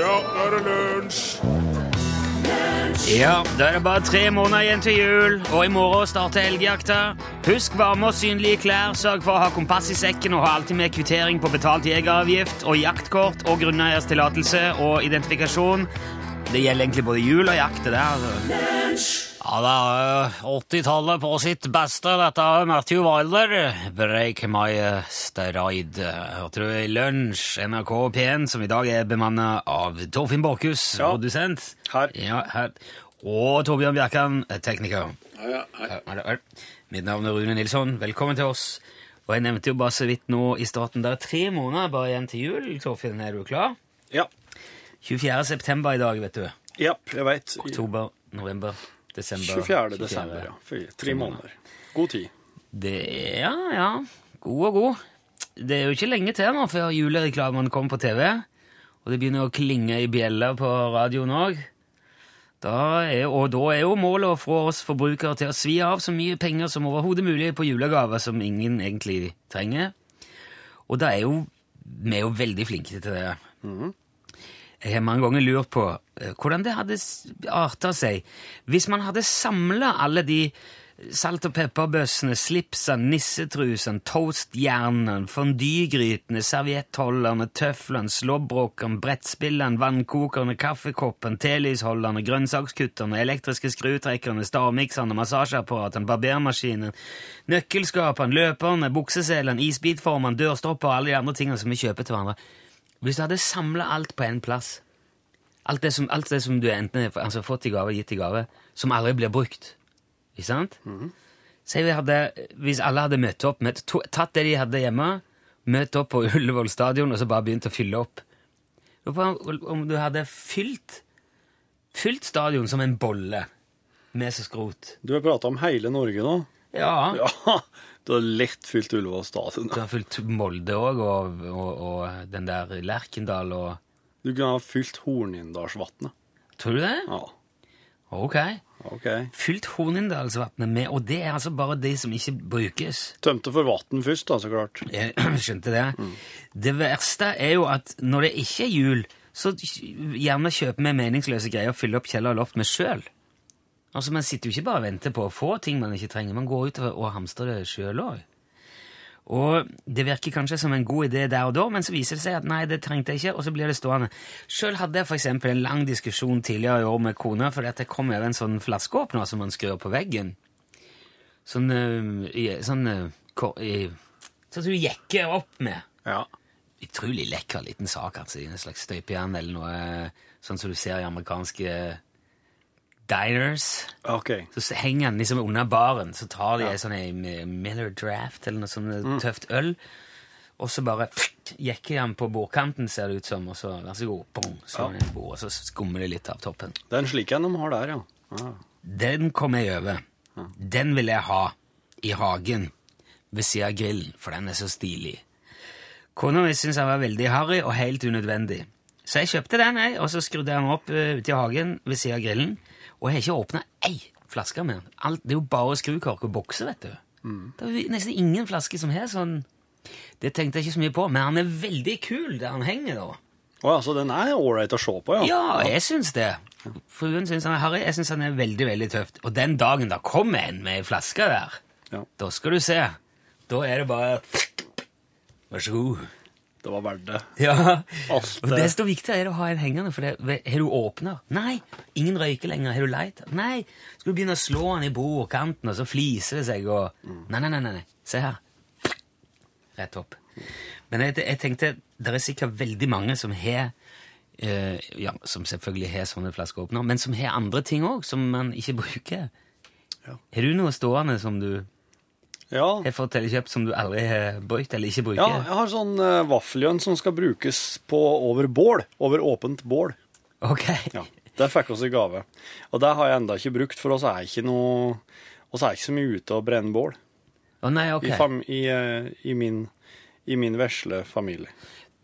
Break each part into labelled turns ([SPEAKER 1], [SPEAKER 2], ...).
[SPEAKER 1] Ja, nå er det lunsj!
[SPEAKER 2] Ja, da er det bare tre måneder igjen til jul, og i morgen starter helgejakta. Husk varme og synlige klær, sørg for å ha kompass i sekken og ha alltid med kvittering på betalt jegeravgift og jaktkort og grunneiers tillatelse og identifikasjon. Det gjelder egentlig både jul og jakt, det der. altså. Ja, det er eh, 80-tallet på sitt beste. Dette er Matthew Wilder. Break my eh, stride. Hørte du i Lunsj, NRK P1, som i dag er bemannet av Torfinn Borkhus,
[SPEAKER 1] Ja.
[SPEAKER 2] produsent.
[SPEAKER 1] Her.
[SPEAKER 2] Ja, her. Og Torbjørn Bjerkan, tekniker.
[SPEAKER 1] Ja, ja,
[SPEAKER 2] Her, her. Mitt navn er Rune Nilsson. Velkommen til oss. Og jeg nevnte jo bare så vidt nå i starten, det er tre måneder bare igjen til jul. Torfinn, er du klar?
[SPEAKER 1] ja.
[SPEAKER 2] 24. september i dag, vet du.
[SPEAKER 1] ja jeg veit.
[SPEAKER 2] Oktober, november, desember.
[SPEAKER 1] 24. desember. ja. Fy, Tre måneder. God tid.
[SPEAKER 2] Det er, ja, ja. God og god. Det er jo ikke lenge til nå før julereklamene kommer på TV. Og det begynner å klinge i bjeller på radioen òg. Og da er jo målet å få oss forbrukere til å svi av så mye penger som overhodet mulig på julegaver som ingen egentlig trenger. Og da er jo vi er jo veldig flinke til det. Jeg har mange ganger lurt på eh, hvordan det hadde s- arta seg hvis man hadde samla alle de salt- og pepperbøssene, slipsene, nissetrusene, toastjernene, fondygrytene, serviettholderne, tøflene, slåbrokene, brettspillene, vannkokerne, kaffekoppen, telysholderne, grønnsakskutterne, elektriske skrutrekkerne, stavmikserne, massasjeapparatene, barbermaskinen, nøkkelskapene, løperne, bukseselene, isbitformene, dørstopper og alle de andre tingene som vi kjøper til hverandre. Hvis du hadde samla alt på én plass, alt det som, alt det som du enten har altså, fått i gave, gitt i gave, som aldri blir brukt Ikke sant? Si vi hadde, hvis alle hadde møtt opp, møtt, to, tatt det de hadde hjemme, møtt opp på Ullevål stadion og så bare begynt å fylle opp Lurer på om- Om du hadde fylt, fylt stadion som en bolle med så skrot
[SPEAKER 1] Du har prata om hele Norge nå.
[SPEAKER 2] Ja.
[SPEAKER 1] Ja, Du har lett fylt Ullevål stadion.
[SPEAKER 2] Du har fylt Molde òg, og, og, og den der Lerkendal og
[SPEAKER 1] Du kunne ha fylt Hornindalsvatnet.
[SPEAKER 2] Tror du det?
[SPEAKER 1] Ja,
[SPEAKER 2] Ok.
[SPEAKER 1] OK.
[SPEAKER 2] fylt Hornindalsvatnet med, og det er altså bare de som ikke brukes.
[SPEAKER 1] Tømte for vann først, da, så klart.
[SPEAKER 2] Jeg skjønte det. Det verste er jo at når det ikke er jul, så gjerne kjøper vi meningsløse greier og fyller opp kjeller og loft med sjøl. Altså, Man sitter jo ikke bare og venter på å få ting man ikke trenger, man går ut og og hamstrer det sjøl òg. Og det virker kanskje som en god idé der og da, men så viser det seg at nei, det trengte jeg ikke, og så blir det stående. Sjøl hadde jeg for eksempel en lang diskusjon tidligere i år med kona fordi at jeg kom over en sånn flaskeåpner som man skrur på veggen. Sånn øh, i- Sånn øh, kor- i- Sånn som du jekker opp med.
[SPEAKER 1] Ja.
[SPEAKER 2] Utrolig lekker liten sak, altså. i En slags støpejern eller noe sånn som du ser i amerikanske eh, diners.
[SPEAKER 1] OK.
[SPEAKER 2] Så s- henger den liksom under baren, så tar de en sånn en M- Miller Draft eller noe sånn tøft øl, og så bare jekker de den på bordkanten, ser det ut som, og så vær så god, bong, slår den i bordet, og så skummer det litt av toppen.
[SPEAKER 1] Det er en slik en de har der, ja. ja.
[SPEAKER 2] Den kom jeg over. Den vil jeg ha i hagen ved siden av grillen, for den er så stilig. Kona mi syntes han var veldig harry og helt unødvendig. Så jeg kjøpte den, jeg, og så skrudde jeg den opp eh, ute i hagen ved siden av grillen. Og jeg har ikke åpna ei flaske med den. Alt, det er jo bare skrukork og bokser, vet du. Det er jo nesten ingen flaske som har sånn. Det tenkte jeg ikke så mye på, men han er veldig kul der han henger, da.
[SPEAKER 1] Å ja, så den er ålreit å se på, ja.
[SPEAKER 2] Ja, jeg syns det. Fruen syns han er harry, jeg syns han er veldig veldig tøft. Og den dagen da kommer en med ei flaske der,
[SPEAKER 1] Ja.
[SPEAKER 2] da skal du se. Da er det bare Vær så god.
[SPEAKER 1] Det var verdt det.
[SPEAKER 2] Ja.
[SPEAKER 1] Alt
[SPEAKER 2] Og
[SPEAKER 1] det-
[SPEAKER 2] Desto viktigere er det å ha en hengende, for det, har du åpner? Nei. Ingen røyker lenger. Har du leit? Nei. Skal du begynne å slå han i bordkanten, og så fliser det seg, og
[SPEAKER 1] Mm.
[SPEAKER 2] Nei, nei, nei. nei, nei. Se her. Rett opp. Men jeg, jeg tenkte, det er sikkert veldig mange som har eh, ja, Som selvfølgelig har sånne flaskeåpner, men som har andre ting òg, som man ikke bruker.
[SPEAKER 1] Ja.
[SPEAKER 2] Har du noe stående som du
[SPEAKER 1] Ja.
[SPEAKER 2] har fått eller kjøpt som du aldri har brukt eller ikke
[SPEAKER 1] Ja,
[SPEAKER 2] bruker?
[SPEAKER 1] jeg har sånn uh, vaffeljønn som skal brukes på over bål, over åpent bål.
[SPEAKER 2] Ok.
[SPEAKER 1] Ja, det fikk oss i gave. Og det har jeg enda ikke brukt, for oss er ikke noe oss er ikke så mye ute og brenner bål
[SPEAKER 2] Å nei, ok.
[SPEAKER 1] i, fam, i, eh, i min, i min vesle familie.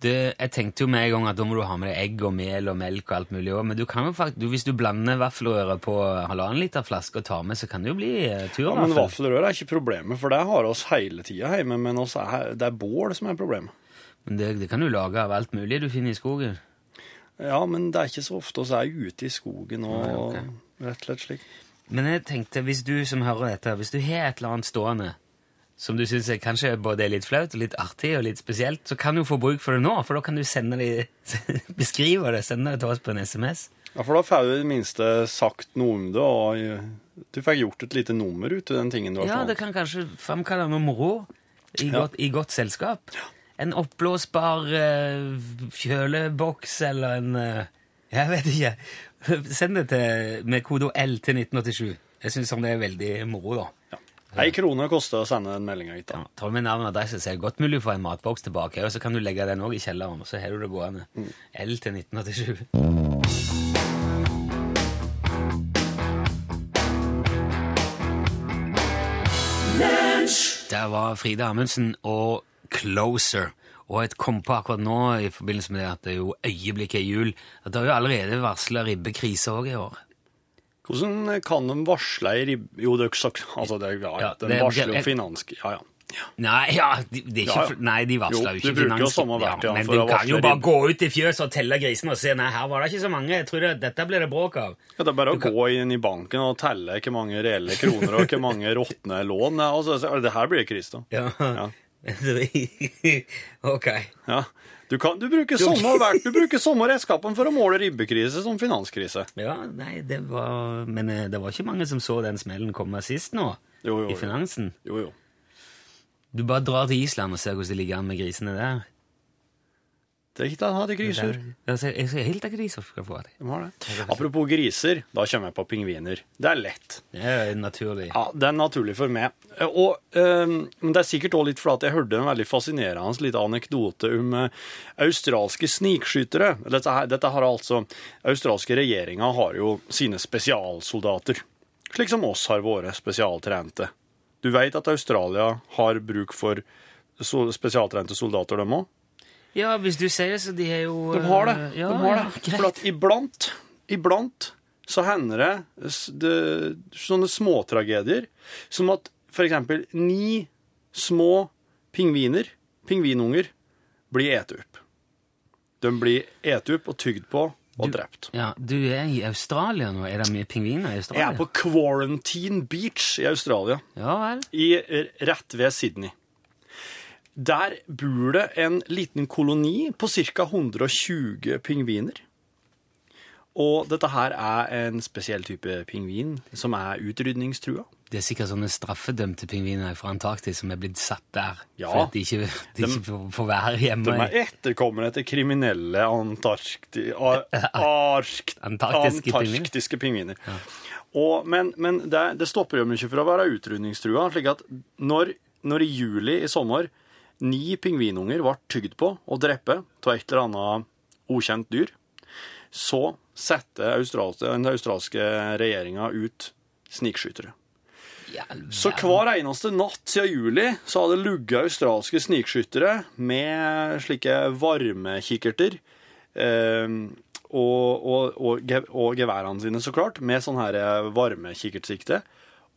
[SPEAKER 2] Det, jeg tenkte jo med en gang at da må du ha med deg egg og mel og melk og alt mulig også, men du kan jo faktisk, du, hvis du blander vaffelrøre på halvannen liter flaske og tar med, så kan det jo bli eh,
[SPEAKER 1] Ja, men
[SPEAKER 2] turvaffel.
[SPEAKER 1] vaffelrør er ikke problemet, for det har oss hele tida hjemme. Men oss er, det er bål som er problemet.
[SPEAKER 2] men det, det kan du lage av alt mulig du finner i skogen.
[SPEAKER 1] Ja, men det er ikke så ofte vi er ute i skogen og
[SPEAKER 2] Nei, ok.
[SPEAKER 1] rett og slett slik.
[SPEAKER 2] Men jeg tenkte, hvis du som hører dette, hvis du har et eller annet stående som du syns kanskje både er litt flaut og litt artig og litt spesielt, så kan du få bruk for det nå, for da kan du sende det, beskrive det, sende det til oss på en SMS.
[SPEAKER 1] Ja, For da får du i det minste sagt noe om det, og eh, du fikk gjort et lite nummer ut av den tingen du har
[SPEAKER 2] Ja,
[SPEAKER 1] stående.
[SPEAKER 2] det kan kanskje fremkalle noe moro i, godt, i godt selskap. En oppblåsbar eh, kjøleboks eller en eh, Jeg vet ikke. Send det til, med kode L til 1987. Jeg syns det er veldig moro, da.
[SPEAKER 1] Ei krone koster å sende den meldinga hit. da.
[SPEAKER 2] Ja, tar du med navn og adresse, så er det godt mulig å få en matboks tilbake. Og så kan du legge den også i kjelleren, og så har du det gående. L til 1987. Der var Frida Amundsen og Closer. Og et kom på akkurat nå i forbindelse med det at det er jo øyeblikket er jul. At det har jo allerede varsla ribbekrise òg i år.
[SPEAKER 1] Hvordan kan de varsle ei ribb... Jo, det er jo ikke sagt Altså, det er ja,
[SPEAKER 2] Ja,
[SPEAKER 1] De
[SPEAKER 2] det er-
[SPEAKER 1] varsler jo
[SPEAKER 2] jeg-
[SPEAKER 1] finansk... Ja, ja.
[SPEAKER 2] Nei, ja, de, det er ikke,
[SPEAKER 1] Ja, ja.
[SPEAKER 2] Nei, de varsla
[SPEAKER 1] Jo,
[SPEAKER 2] jo
[SPEAKER 1] de
[SPEAKER 2] ikke
[SPEAKER 1] bruker jo
[SPEAKER 2] finans-
[SPEAKER 1] samme verktøy
[SPEAKER 2] men
[SPEAKER 1] for å
[SPEAKER 2] de kan
[SPEAKER 1] varsle
[SPEAKER 2] jo bare
[SPEAKER 1] ribb.
[SPEAKER 2] gå ut i fjøset og telle grisene og se nei, her var det ikke så mange. Jeg tror det, dette blir det bråk av.
[SPEAKER 1] ja det er bare å gå inn i banken og telle hvor mange reelle kroner og hvor mange råtne lån det er. Altså, så- det her blir krise, da.
[SPEAKER 2] Ja.
[SPEAKER 1] Ja.
[SPEAKER 2] ok.
[SPEAKER 1] Ja. Du, kan, du bruker samme verk- du bruker samme redskapen for å måle ribbekrise som finanskrise.
[SPEAKER 2] Ja, nei, det var Men eh, det var ikke mange som så den smellen komme sist nå,
[SPEAKER 1] Jo, jo,
[SPEAKER 2] i
[SPEAKER 1] jo.
[SPEAKER 2] finansen.
[SPEAKER 1] Jo, jo.
[SPEAKER 2] Du bare drar til Island og ser hvordan det ligger an med grisene der.
[SPEAKER 1] Det er ikke det, han hadde griser.
[SPEAKER 2] Der- Altså, jeg ser helt av griser skal få det.
[SPEAKER 1] De har det. Apropos griser, da kommer jeg på pingviner. Det er lett.
[SPEAKER 2] Det er jo naturlig.
[SPEAKER 1] Ja, Det er naturlig for meg. Og, øhm, men det er sikkert også litt fordi jeg hørte en veldig fascinerende liten anekdote om eh, australske snikskyttere. Dette, her, dette har altså, Australske regjeringa har jo sine spesialsoldater, slik som oss har våre spesialtrente. Du vet at Australia har bruk for so- spesialtrente soldater, dem òg?
[SPEAKER 2] Ja, hvis du sier det, så de er jo
[SPEAKER 1] De har det.
[SPEAKER 2] eh, Ja,
[SPEAKER 1] de har det.
[SPEAKER 2] ja, greit.
[SPEAKER 1] For at iblant, iblant så hender det, s- det sånne småtragedier som at for eksempel ni små pingviner, pingvinunger, blir et opp. De blir et opp og tygd på og drept.
[SPEAKER 2] Ja, du er i Australia nå. Er det mye pingviner i
[SPEAKER 1] Jeg
[SPEAKER 2] Australia?
[SPEAKER 1] er på Quarantine Beach i Australia.
[SPEAKER 2] Ja vel.
[SPEAKER 1] i, rett ved Sydney. Der bor det en liten koloni på ca. 120 pingviner. Og dette her er en spesiell type pingvin som er utrydningstrua.
[SPEAKER 2] Det er sikkert sånne straffedømte pingviner fra Antarktis som er blitt satt der.
[SPEAKER 1] Ja.
[SPEAKER 2] For at de ikke, de ikke får, får være hjemme
[SPEAKER 1] De er
[SPEAKER 2] i
[SPEAKER 1] etterkommere etter kriminelle antarkti, ar, arkt,
[SPEAKER 2] Antarktiske
[SPEAKER 1] antarktiske,
[SPEAKER 2] pingviner.
[SPEAKER 1] pingviner. Og, men men det, det stopper dem ikke fra å være utrydningstrua. slik at når, når i juli i sommer ni pingvinunger ble tygd på og drept av et eller annet ukjent dyr, så setter australske, den australske regjeringa ut snikskyttere.
[SPEAKER 2] ja,
[SPEAKER 1] Så hver eneste natt siden juli så hadde lugget australske snikskyttere med slike varmekikkerter eh, og, og, og, ge- og geværene sine, så klart, med sånn her varmekikkertsikte,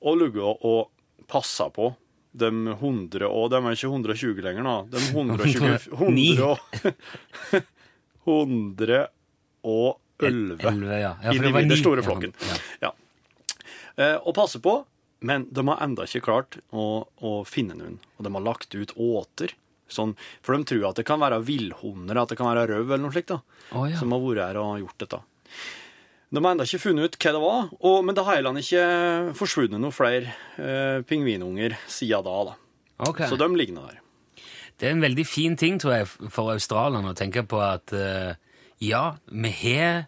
[SPEAKER 1] og lugget og, og passa på de 100 og De er ikke 120 lenger, nå. De 120
[SPEAKER 2] Ni.
[SPEAKER 1] 100 og 111
[SPEAKER 2] Elleve, ja. ja for det var ni.
[SPEAKER 1] individer, store
[SPEAKER 2] Ja,
[SPEAKER 1] flokken.
[SPEAKER 2] ja.
[SPEAKER 1] Ja. Eh, og passe på, men de har enda ikke klart å, å finne noen. Og de har lagt ut åter, sånn, for de tror at det kan være villhunder, at det kan være røv eller noe slikt, da,
[SPEAKER 2] Å, ja.
[SPEAKER 1] som har vært her og gjort dette. De har enda ikke funnet ut hva det var, og, men det har heller ikke forsvunnet noen flere eh, pingvinunger siden da. da.
[SPEAKER 2] Ok.
[SPEAKER 1] Så de ligner der.
[SPEAKER 2] Det er en veldig fin ting, tror jeg, for australierne å tenke på at eh, ja, vi har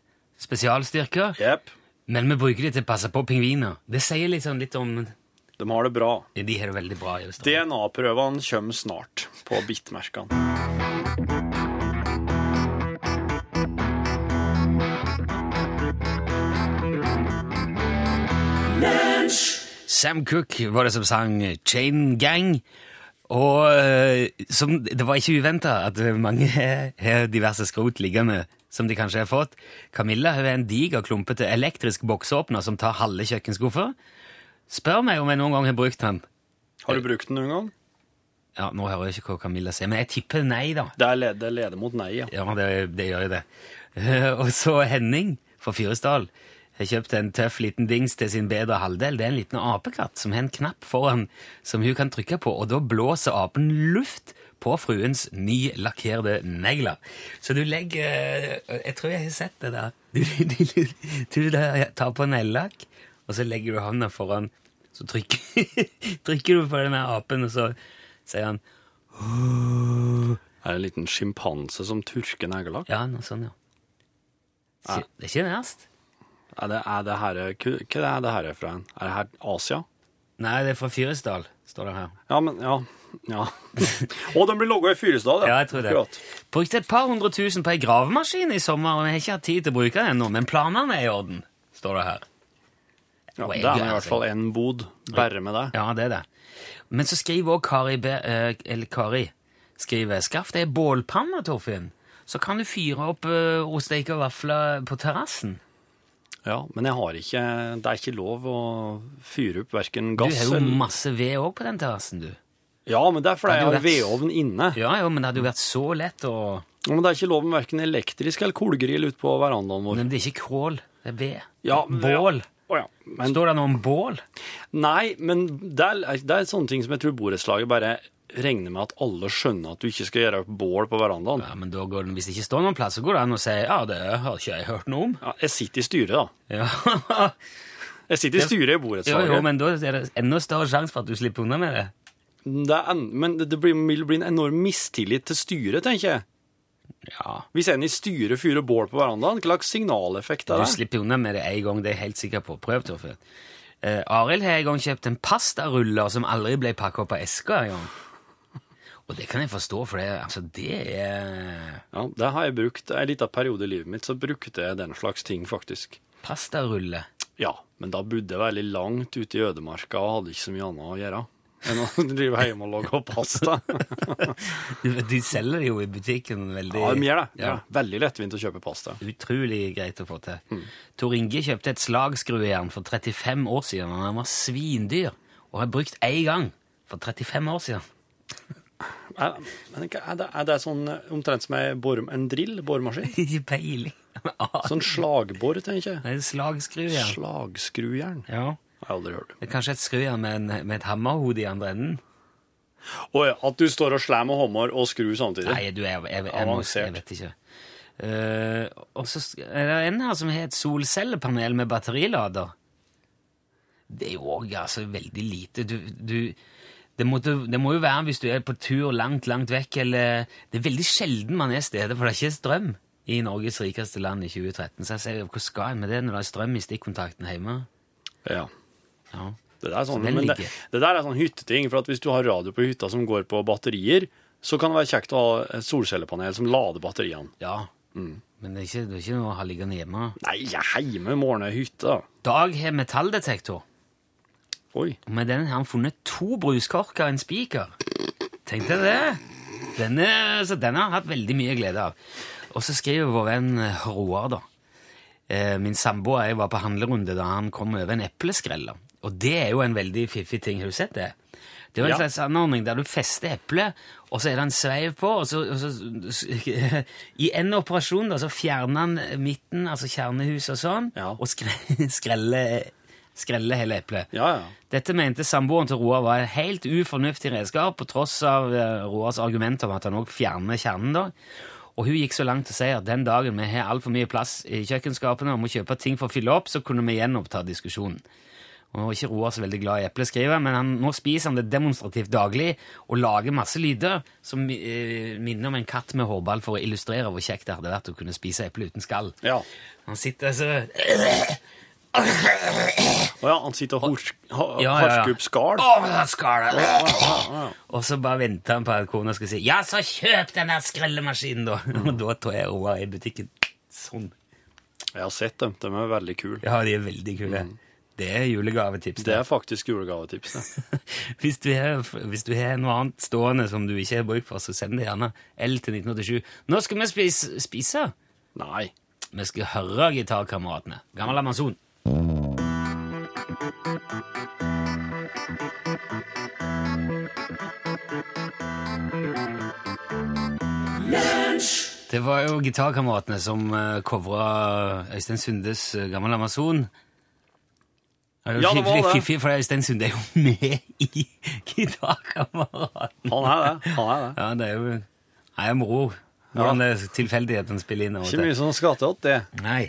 [SPEAKER 2] spesialstyrker,
[SPEAKER 1] Jepp,
[SPEAKER 2] men vi bruker de til å passe på pingviner. Det sier liksom litt om
[SPEAKER 1] de har det bra.
[SPEAKER 2] De har det veldig bra i Australia.
[SPEAKER 1] DNA-prøvene kommer snart på bittmerkene.
[SPEAKER 2] Sam Cooke var det som sang Chain Gang. Og eh, som, det var ikke uventa at mange har diverse skrot liggende som de kanskje har fått. Camilla hun er en diger, klumpete elektrisk bokseåpner som tar halve kjøkkenskuffa. Spør meg om jeg noen gang har brukt den.
[SPEAKER 1] Har du brukt den noen gang?
[SPEAKER 2] Ja, Nå hører jeg ikke hva Camilla sier, men jeg tipper nei, da.
[SPEAKER 1] Det er leder, leder mot nei, ja.
[SPEAKER 2] Ja, det, det gjør jo det. og så Henning fra Fyresdal har kjøpt en tøff liten dings til sin bedre halvdel. Det er en liten apekatt som har en knapp foran som hun kan trykke på, og da blåser apen luft på fruens nylakkerte negler. Så du legger eh, Jeg tror jeg har sett det der. Du, du, du, du da tar på neglelakk, og så legger du hånda foran, så trykker, trykker du på den der apen, og så sier han
[SPEAKER 1] Er det en liten sjimpanse som turker neglelakk?
[SPEAKER 2] Ja, noe sånn, ja. Det er ikke- Det er ikke verst.
[SPEAKER 1] Er det, er det her, ku- hva er det her fra? Er det her Asia?
[SPEAKER 2] Nei, det er fra Fyresdal, står det her.
[SPEAKER 1] Ja, men ja. ja. Å, den blir logga i Fyresdal,
[SPEAKER 2] Ja, jeg tror det.
[SPEAKER 1] Akkurat.
[SPEAKER 2] Brukte et par hundre tusen på ei gravemaskin i sommer, og jeg har ikke hatt tid til å bruke den ennå, men planene er i orden, står det her.
[SPEAKER 1] Ja,
[SPEAKER 2] Og jeg
[SPEAKER 1] det er nå
[SPEAKER 2] er
[SPEAKER 1] i hvert
[SPEAKER 2] altså-
[SPEAKER 1] fall en bod, bare med deg.
[SPEAKER 2] Ja, det er det. Men så skriver også Kari, Be eh, eller Kari skriver, Skaff deg ei bålpanne, Torfinn, så kan du fyre opp eh, osteiker og vafler på terrassen.
[SPEAKER 1] Ja, men jeg har ikke Det er ikke lov å fyre opp verken
[SPEAKER 2] Du
[SPEAKER 1] gass
[SPEAKER 2] har jo
[SPEAKER 1] eller
[SPEAKER 2] masse ved òg på den terrassen, du.
[SPEAKER 1] Ja, men det er fordi
[SPEAKER 2] Ja,
[SPEAKER 1] jeg
[SPEAKER 2] du
[SPEAKER 1] har
[SPEAKER 2] vet.
[SPEAKER 1] vedovn inne.
[SPEAKER 2] Ja jo, men det hadde jo vært så lett å
[SPEAKER 1] Ja, Men det er ikke lov med verken elektrisk eller kullgrill ute på verandaen vår.
[SPEAKER 2] Men det er ikke kål, det er ved.
[SPEAKER 1] Ja, men-
[SPEAKER 2] bål.
[SPEAKER 1] Å ja. Men
[SPEAKER 2] Står det noe om bål?
[SPEAKER 1] Nei, men det er, det er sånne ting som jeg tror borettslaget bare regner med at alle skjønner at du ikke skal gjøre bål på verandaen.
[SPEAKER 2] Ja, men da går den, Hvis det ikke står noen plass, så går det an å si ja, det har ikke jeg hørt noe om.
[SPEAKER 1] Ja, jeg sitter i styret, da.
[SPEAKER 2] Ja,
[SPEAKER 1] Jeg sitter i styret i
[SPEAKER 2] jo,
[SPEAKER 1] borettslaget.
[SPEAKER 2] jo, men da er det enda større sjanse for at du slipper unna med det.
[SPEAKER 1] det er en, men det blir, vil bli en enorm mistillit til styret, tenker jeg.
[SPEAKER 2] Ja,
[SPEAKER 1] Hvis en i styret fyrer bål på verandaen, hva slags signaleffekt er
[SPEAKER 2] Du
[SPEAKER 1] det?
[SPEAKER 2] slipper unna med det en gang, det er jeg helt sikker på. Prøv, Torfinn. Eh, Arild har en gang kjøpt en pastaruller som aldri ble pakka opp av eska. en gang. Og det kan jeg forstå, for det, altså, det er
[SPEAKER 1] Ja, det har jeg brukt. En liten periode i livet mitt så brukte jeg den slags ting, faktisk.
[SPEAKER 2] pastarulle.
[SPEAKER 1] Ja, men da bodde jeg veldig langt ute i ødemarka og hadde ikke så mye annet å gjøre enn å drive hjemme og lage pasta.
[SPEAKER 2] De selger det jo i butikken veldig
[SPEAKER 1] Ja, de gjør det.
[SPEAKER 2] Ja.
[SPEAKER 1] Ja. Veldig lettvint å kjøpe pasta.
[SPEAKER 2] Utrolig greit å få til. Tor Inge kjøpte et slagskruejern for 35 år siden. og Han var svindyr og har brukt én gang for 35 år siden.
[SPEAKER 1] Er, men hva er, det, er det sånn eh, omtrent som ei bor- en drill, boremaskin?
[SPEAKER 2] Ikke peiling. Ah,
[SPEAKER 1] Sånn slagbor, tenker jeg.
[SPEAKER 2] det er Slagskruejern.
[SPEAKER 1] Slagskrujern. Jeg
[SPEAKER 2] Ja.
[SPEAKER 1] har aldri hørt om.
[SPEAKER 2] Det er kanskje et skrujern med, en- med et hammerhode i andre enden.
[SPEAKER 1] Å ja, at du står og slår med hammer og skru samtidig?
[SPEAKER 2] Nei, du, jeg, jeg, jeg, jeg, må-
[SPEAKER 1] Avansert.
[SPEAKER 2] jeg vet ikke. Eh, og så er det en her som har et solcellepanel med batterilader. Det er jo òg altså, veldig lite. Du, du, det, måtte, det må jo være hvis du er på tur langt, langt vekk, eller Det er veldig sjelden man er steder, for det er ikke strøm i Norges rikeste land i 2013. Så jeg sier, hvor skal en med det når det er strøm i stikkontakten hjemme?
[SPEAKER 1] Ja.
[SPEAKER 2] Ja.
[SPEAKER 1] Det der, er sånn,
[SPEAKER 2] den
[SPEAKER 1] men det,
[SPEAKER 2] ligger.
[SPEAKER 1] det der er sånn hytteting, for at hvis du har radio på hytta som går på batterier, så kan det være kjekt å ha et solcellepanel som lader batteriene.
[SPEAKER 2] ja. Men det er, ikke, det er ikke noe å ha liggende hjemme.
[SPEAKER 1] Nei, jeg er hjemme i morgen i hytta.
[SPEAKER 2] Dag har metalldetektor.
[SPEAKER 1] Oi.
[SPEAKER 2] Og med den har han funnet to bruskorker og en spiker. Tenkte jeg det. Denne, så denne har jeg hatt veldig mye glede av. Og så skriver vår venn Roar, da. Eh, Min samboer og jeg var på handlerunde da han kom over en epleskreller. Og det er jo en veldig fiffig ting. Har du sett det? Det er jo en
[SPEAKER 1] Ja.
[SPEAKER 2] slags anordning der du fester eplet, og så er det en sveiv på, og så, og så I en operasjon da, så fjerner han midten, altså kjernehuset og sånn,
[SPEAKER 1] Ja.
[SPEAKER 2] og skre, skreller, skreller hele eplet.
[SPEAKER 1] Ja, ja.
[SPEAKER 2] Dette mente samboeren til Roar var et helt ufornuftig redskap, på tross av eh, Roars argument om at han også fjerner kjernen. da. Og hun gikk så langt til å si at den dagen vi har altfor mye plass i kjøkkenskapene og må kjøpe ting for å fylle opp, så kunne vi gjenoppta diskusjonen. Og nå er ikke Roar så veldig glad i epleskriver, men han, nå spiser han det demonstrativt daglig og lager masse lyder som eh, minner om en katt med hårball for å illustrere hvor kjekt det hadde vært å kunne spise eple uten skall.
[SPEAKER 1] Ja.
[SPEAKER 2] Han sitter så
[SPEAKER 1] Å ja, han sitter og hork, ha,
[SPEAKER 2] Ja, Ah! ja, ja.
[SPEAKER 1] harker opp Ah, skall.
[SPEAKER 2] Å, der skal det! Og så bare venter han på at kona skal si Ja, så kjøp den der skrellemaskinen, da! Og da tar jeg Roar i butikken. Sånn.
[SPEAKER 1] Jeg har sett dem. De er veldig kule.
[SPEAKER 2] Ja, de er veldig kule. Det er julegavetips.
[SPEAKER 1] Det
[SPEAKER 2] Det.
[SPEAKER 1] er faktisk julegavetips. det.
[SPEAKER 2] Hvis, du har, hvis du har noe annet stående som du ikke har bruk for, så send det gjerne L til 1987. Nå skal vi spise, spise.
[SPEAKER 1] Nei.
[SPEAKER 2] Vi skal høre gitarkameratene. Gammel Amazon. Det var jo gitarkameratene som uh, covra Øystein Sundes eh, Gammel Amazon. Det er jo
[SPEAKER 1] Ja, det var
[SPEAKER 2] skikkelig
[SPEAKER 1] det.
[SPEAKER 2] fiffig, for Øystein Sunde er jo med i Gitarkameratene.
[SPEAKER 1] Han er det. han er det.
[SPEAKER 2] Ja, det er jo Nei, moro. Hvordan det er tilfeldigheten spiller inn. og alt
[SPEAKER 1] Ikke
[SPEAKER 2] det.
[SPEAKER 1] mye som skal til at det.
[SPEAKER 2] Nei.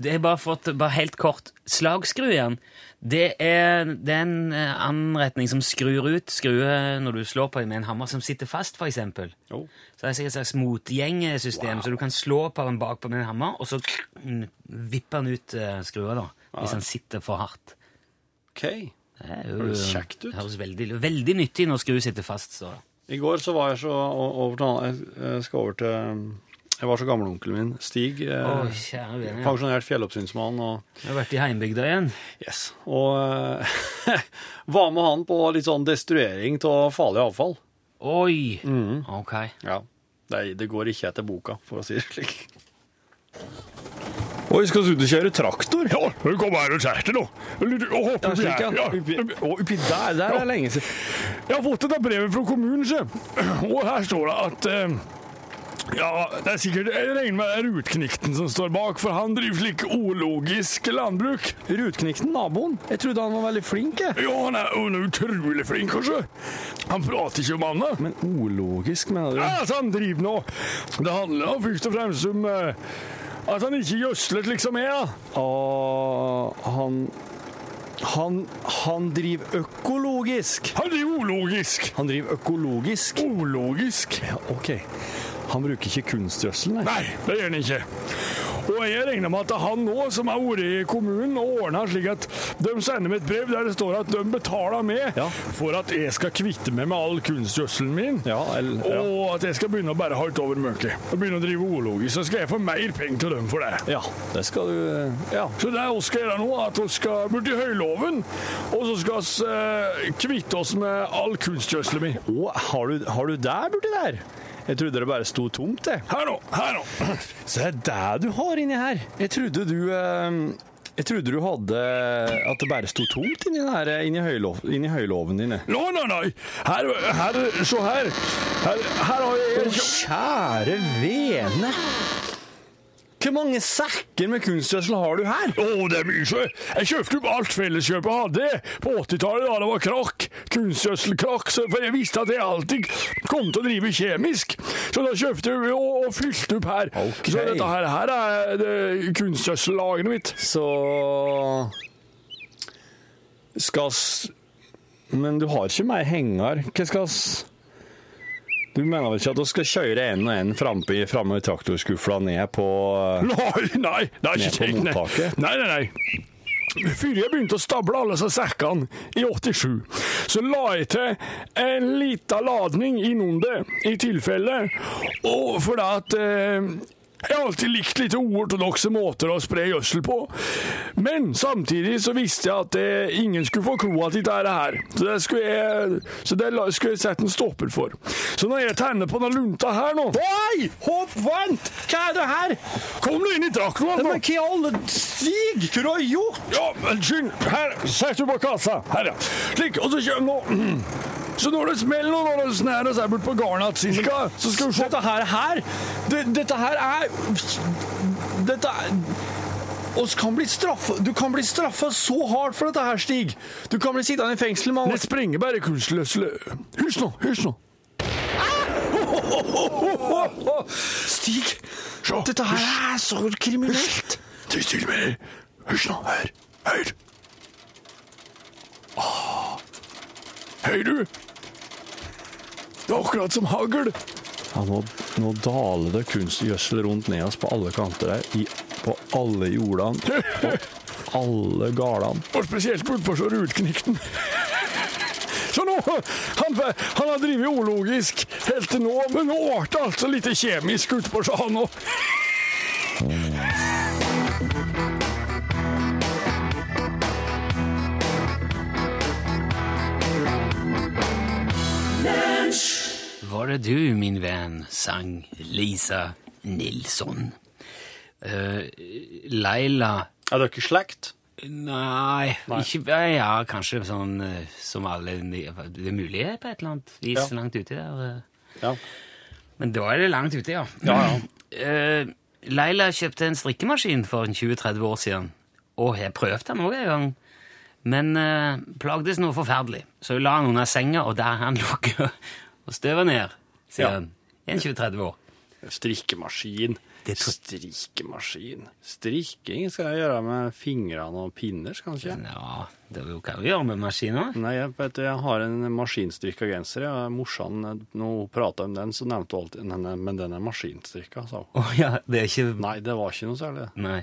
[SPEAKER 2] Det er bare fått bare helt kort. Slagskrujern, det er, det er en eh, anretning som skrur ut skruer når du slår på den med en hammer som sitter fast, for eksempel.
[SPEAKER 1] Jo.
[SPEAKER 2] Så det er sikkert et slags motgjengesystem, så du kan slå på den bakpå med en hammer, og så mm, vipper den ut eh, skrua, da, hvis den sitter for hardt.
[SPEAKER 1] OK.
[SPEAKER 2] Det er jo,
[SPEAKER 1] Høres kjekt ut.
[SPEAKER 2] Høres veldig, veldig nyttig når skru sitter fast, så
[SPEAKER 1] I går så var jeg så o- over til han- jeg- Jeg skal over til um, Jeg var så gamleonkelen min, Stig. eh,
[SPEAKER 2] Å, kjære vene. ja.
[SPEAKER 1] Pensjonert fjelloppsynsmann. og...
[SPEAKER 2] Jeg har vært i heimbygda igjen.
[SPEAKER 1] Yes. Og eh, var med han på litt sånn destruering av farlig avfall.
[SPEAKER 2] Oi!
[SPEAKER 1] Mm.
[SPEAKER 2] Ok.
[SPEAKER 1] Ja. Det, det går ikke etter boka, for å si det slik. Oi, skal du ut og kjøre traktor?
[SPEAKER 3] Ja, kom her og kjæreste nå. Eller du, å,
[SPEAKER 1] Ja,
[SPEAKER 3] oppi
[SPEAKER 1] slik,
[SPEAKER 3] her,
[SPEAKER 1] ja.
[SPEAKER 3] ja.
[SPEAKER 1] Oppi, å, oppi der, der er det lenge siden.
[SPEAKER 3] Jeg har fått dette brevet fra kommunen, se. Og her står det at eh, Ja, det er sikkert Jeg regner med det er Rutknikten som står bak, for han driver slik ologisk landbruk.
[SPEAKER 1] Rutknikten, naboen. Jeg trodde han var veldig flink, jeg.
[SPEAKER 3] Ja, han er han er utrolig flink, kanskje. Han prater ikke om annet.
[SPEAKER 1] Men ologisk, mener
[SPEAKER 3] Ja,
[SPEAKER 1] du?
[SPEAKER 3] altså, han driver nå Det handler da først og fremst om eh, at han ikke gjødsler slik som jeg. da.
[SPEAKER 1] Ah, han Han Han driver økologisk.
[SPEAKER 3] Han driver ologisk.
[SPEAKER 1] Han driver økologisk?
[SPEAKER 3] Ologisk?
[SPEAKER 1] Ja, OK. Han bruker ikke kunstgjødsel, nei.
[SPEAKER 3] Nei, det gjør han ikke. Og jeg regner med at han nå, som har vært i kommunen og ordna slik at de sender meg et brev der det står at de betaler meg
[SPEAKER 1] Ja.
[SPEAKER 3] for at jeg skal kvitte meg med all kunstgjødselen min.
[SPEAKER 1] Ja, eller ja.
[SPEAKER 3] Og at jeg skal begynne å bære hardt over møket. Og begynne å drive ologisk, så skal jeg få mer penger til dem for det.
[SPEAKER 1] Ja, det skal du Ja.
[SPEAKER 3] Så det vi skal gjøre nå, er at vi skal bort i høyloven, og så skal vi eh, kvitte oss med all kunstgjødselen min.
[SPEAKER 1] Å, har du, har du der borti der? Jeg trodde det bare sto tomt, jeg.
[SPEAKER 3] Her nå, her nå.
[SPEAKER 1] Så det er det du har inni her. Jeg trodde du eh, Jeg trodde du hadde At det bare sto tomt inni, den her, eh, inni, høylov, inni høyloven dine.
[SPEAKER 3] Nei, nei, nei. Her, her, se her. Her, her har jeg
[SPEAKER 1] Å, kjære vene! Hvor mange sekker med kunstgjødsel har du her?
[SPEAKER 3] Å, det er mye sjø. Jeg kjøpte opp alt felleskjøpet hadde på 80-tallet da det var krakk. Kunstgjødselkrakk. så- For jeg visste at jeg alltid kom til å drive kjemisk. Så da kjøpte jeg og, og fylte opp her.
[SPEAKER 1] Ok.
[SPEAKER 3] Så dette her, her er det kunstgjødsellageret mitt.
[SPEAKER 1] Så Skal s... Men du har ikke mer henger. Hva skal s... Du mener vel ikke at du skal kjøre en og en framme i, framme i traktorskufla ned på
[SPEAKER 3] Nei, nei, det er ikke
[SPEAKER 1] Ned på
[SPEAKER 3] tenkt. nei.
[SPEAKER 1] mottaket?
[SPEAKER 3] Nei, nei, nei. Før jeg begynte å stable alle disse sekkene i 87, så la jeg til en liten ladning innunder, i tilfelle. Og fordi at eh, jeg har alltid likt litt uortodokse måter å spre gjødsel på. Men samtidig så visste jeg at eh, ingen skulle få kloa til dette her. Så det skulle jeg, så det la- skulle jeg sette en stopper for. Så når jeg tenner på denne lunta her nå
[SPEAKER 1] Oi! Hopp, vent! Hva er det her?
[SPEAKER 3] Kom nå inn i traktoren! nå.
[SPEAKER 1] Men hva i alle Stig, hva har du gjort?
[SPEAKER 3] Ja, unnskyld. Her, sett du på kassa. Her, ja. Slik, og så kjører nå. Så når det smeller og når det snærer seg bort på garnet cirka, så skal du se.
[SPEAKER 1] Dette her, her det, Dette her er Dette er oss kan bli straffa, du kan bli straffa så hardt for dette her, Stig. Du kan bli sittende i fengsel med
[SPEAKER 3] Det sprenger bare kunstløsle. Hysj nå, hysj nå.
[SPEAKER 1] Stig,
[SPEAKER 3] Se.
[SPEAKER 1] dette her er så kriminelt.
[SPEAKER 3] Ty til meg. Hysj nå, her. Hør. Ah. Hør du. Det er akkurat som hagl.
[SPEAKER 1] Ja, nå, nå daler det kunstgjødsel rundt ned oss på alle kanter her. I, på alle jordene. På alle galene.
[SPEAKER 3] Og spesielt bortpå så rutknikten. Så nå, han, han har drivet ologisk helt til nå, men nå ble det altså litt kjemisk utpå seg, han òg.
[SPEAKER 2] Var det du, min venn, sang Lisa Nilsson. Eh, Laila
[SPEAKER 1] Er dere slekt?
[SPEAKER 2] Nei, Ikke, eh, ja, kanskje sånn eh, som alle ni- Det er mulig på et eller annet vis
[SPEAKER 1] Ja.
[SPEAKER 2] langt uti der. eh.
[SPEAKER 1] Ja.
[SPEAKER 2] Men da er det langt ute, ja.
[SPEAKER 1] Ja, ja.
[SPEAKER 2] eh, Leila kjøpte en strikkemaskin for en 20-30 år siden, og jeg prøvde den òg en gang, men eh, plagdes noe forferdelig. Så hun la den under senga, og der hang noe og støvet ned, sier
[SPEAKER 1] Ja.
[SPEAKER 2] hun. I en 20-30 år.
[SPEAKER 1] eh, Strikkemaskin.
[SPEAKER 2] Det tror-
[SPEAKER 1] Strikkemaskin. Strikking skal jeg gjøre med fingrene og pinners, kanskje.
[SPEAKER 2] Ja, det er jo hva vi gjør med maskiner.
[SPEAKER 1] Nei, jeg, vet du, jeg har en maskinstrikka genser. Jeg, morsan, når hun prata om den, så nevnte hun alltid «Nei, nei, Men den er maskinstrikka, sa hun.
[SPEAKER 2] Å ja, det er ikke
[SPEAKER 1] Nei, det var ikke noe særlig. det.
[SPEAKER 2] Nei.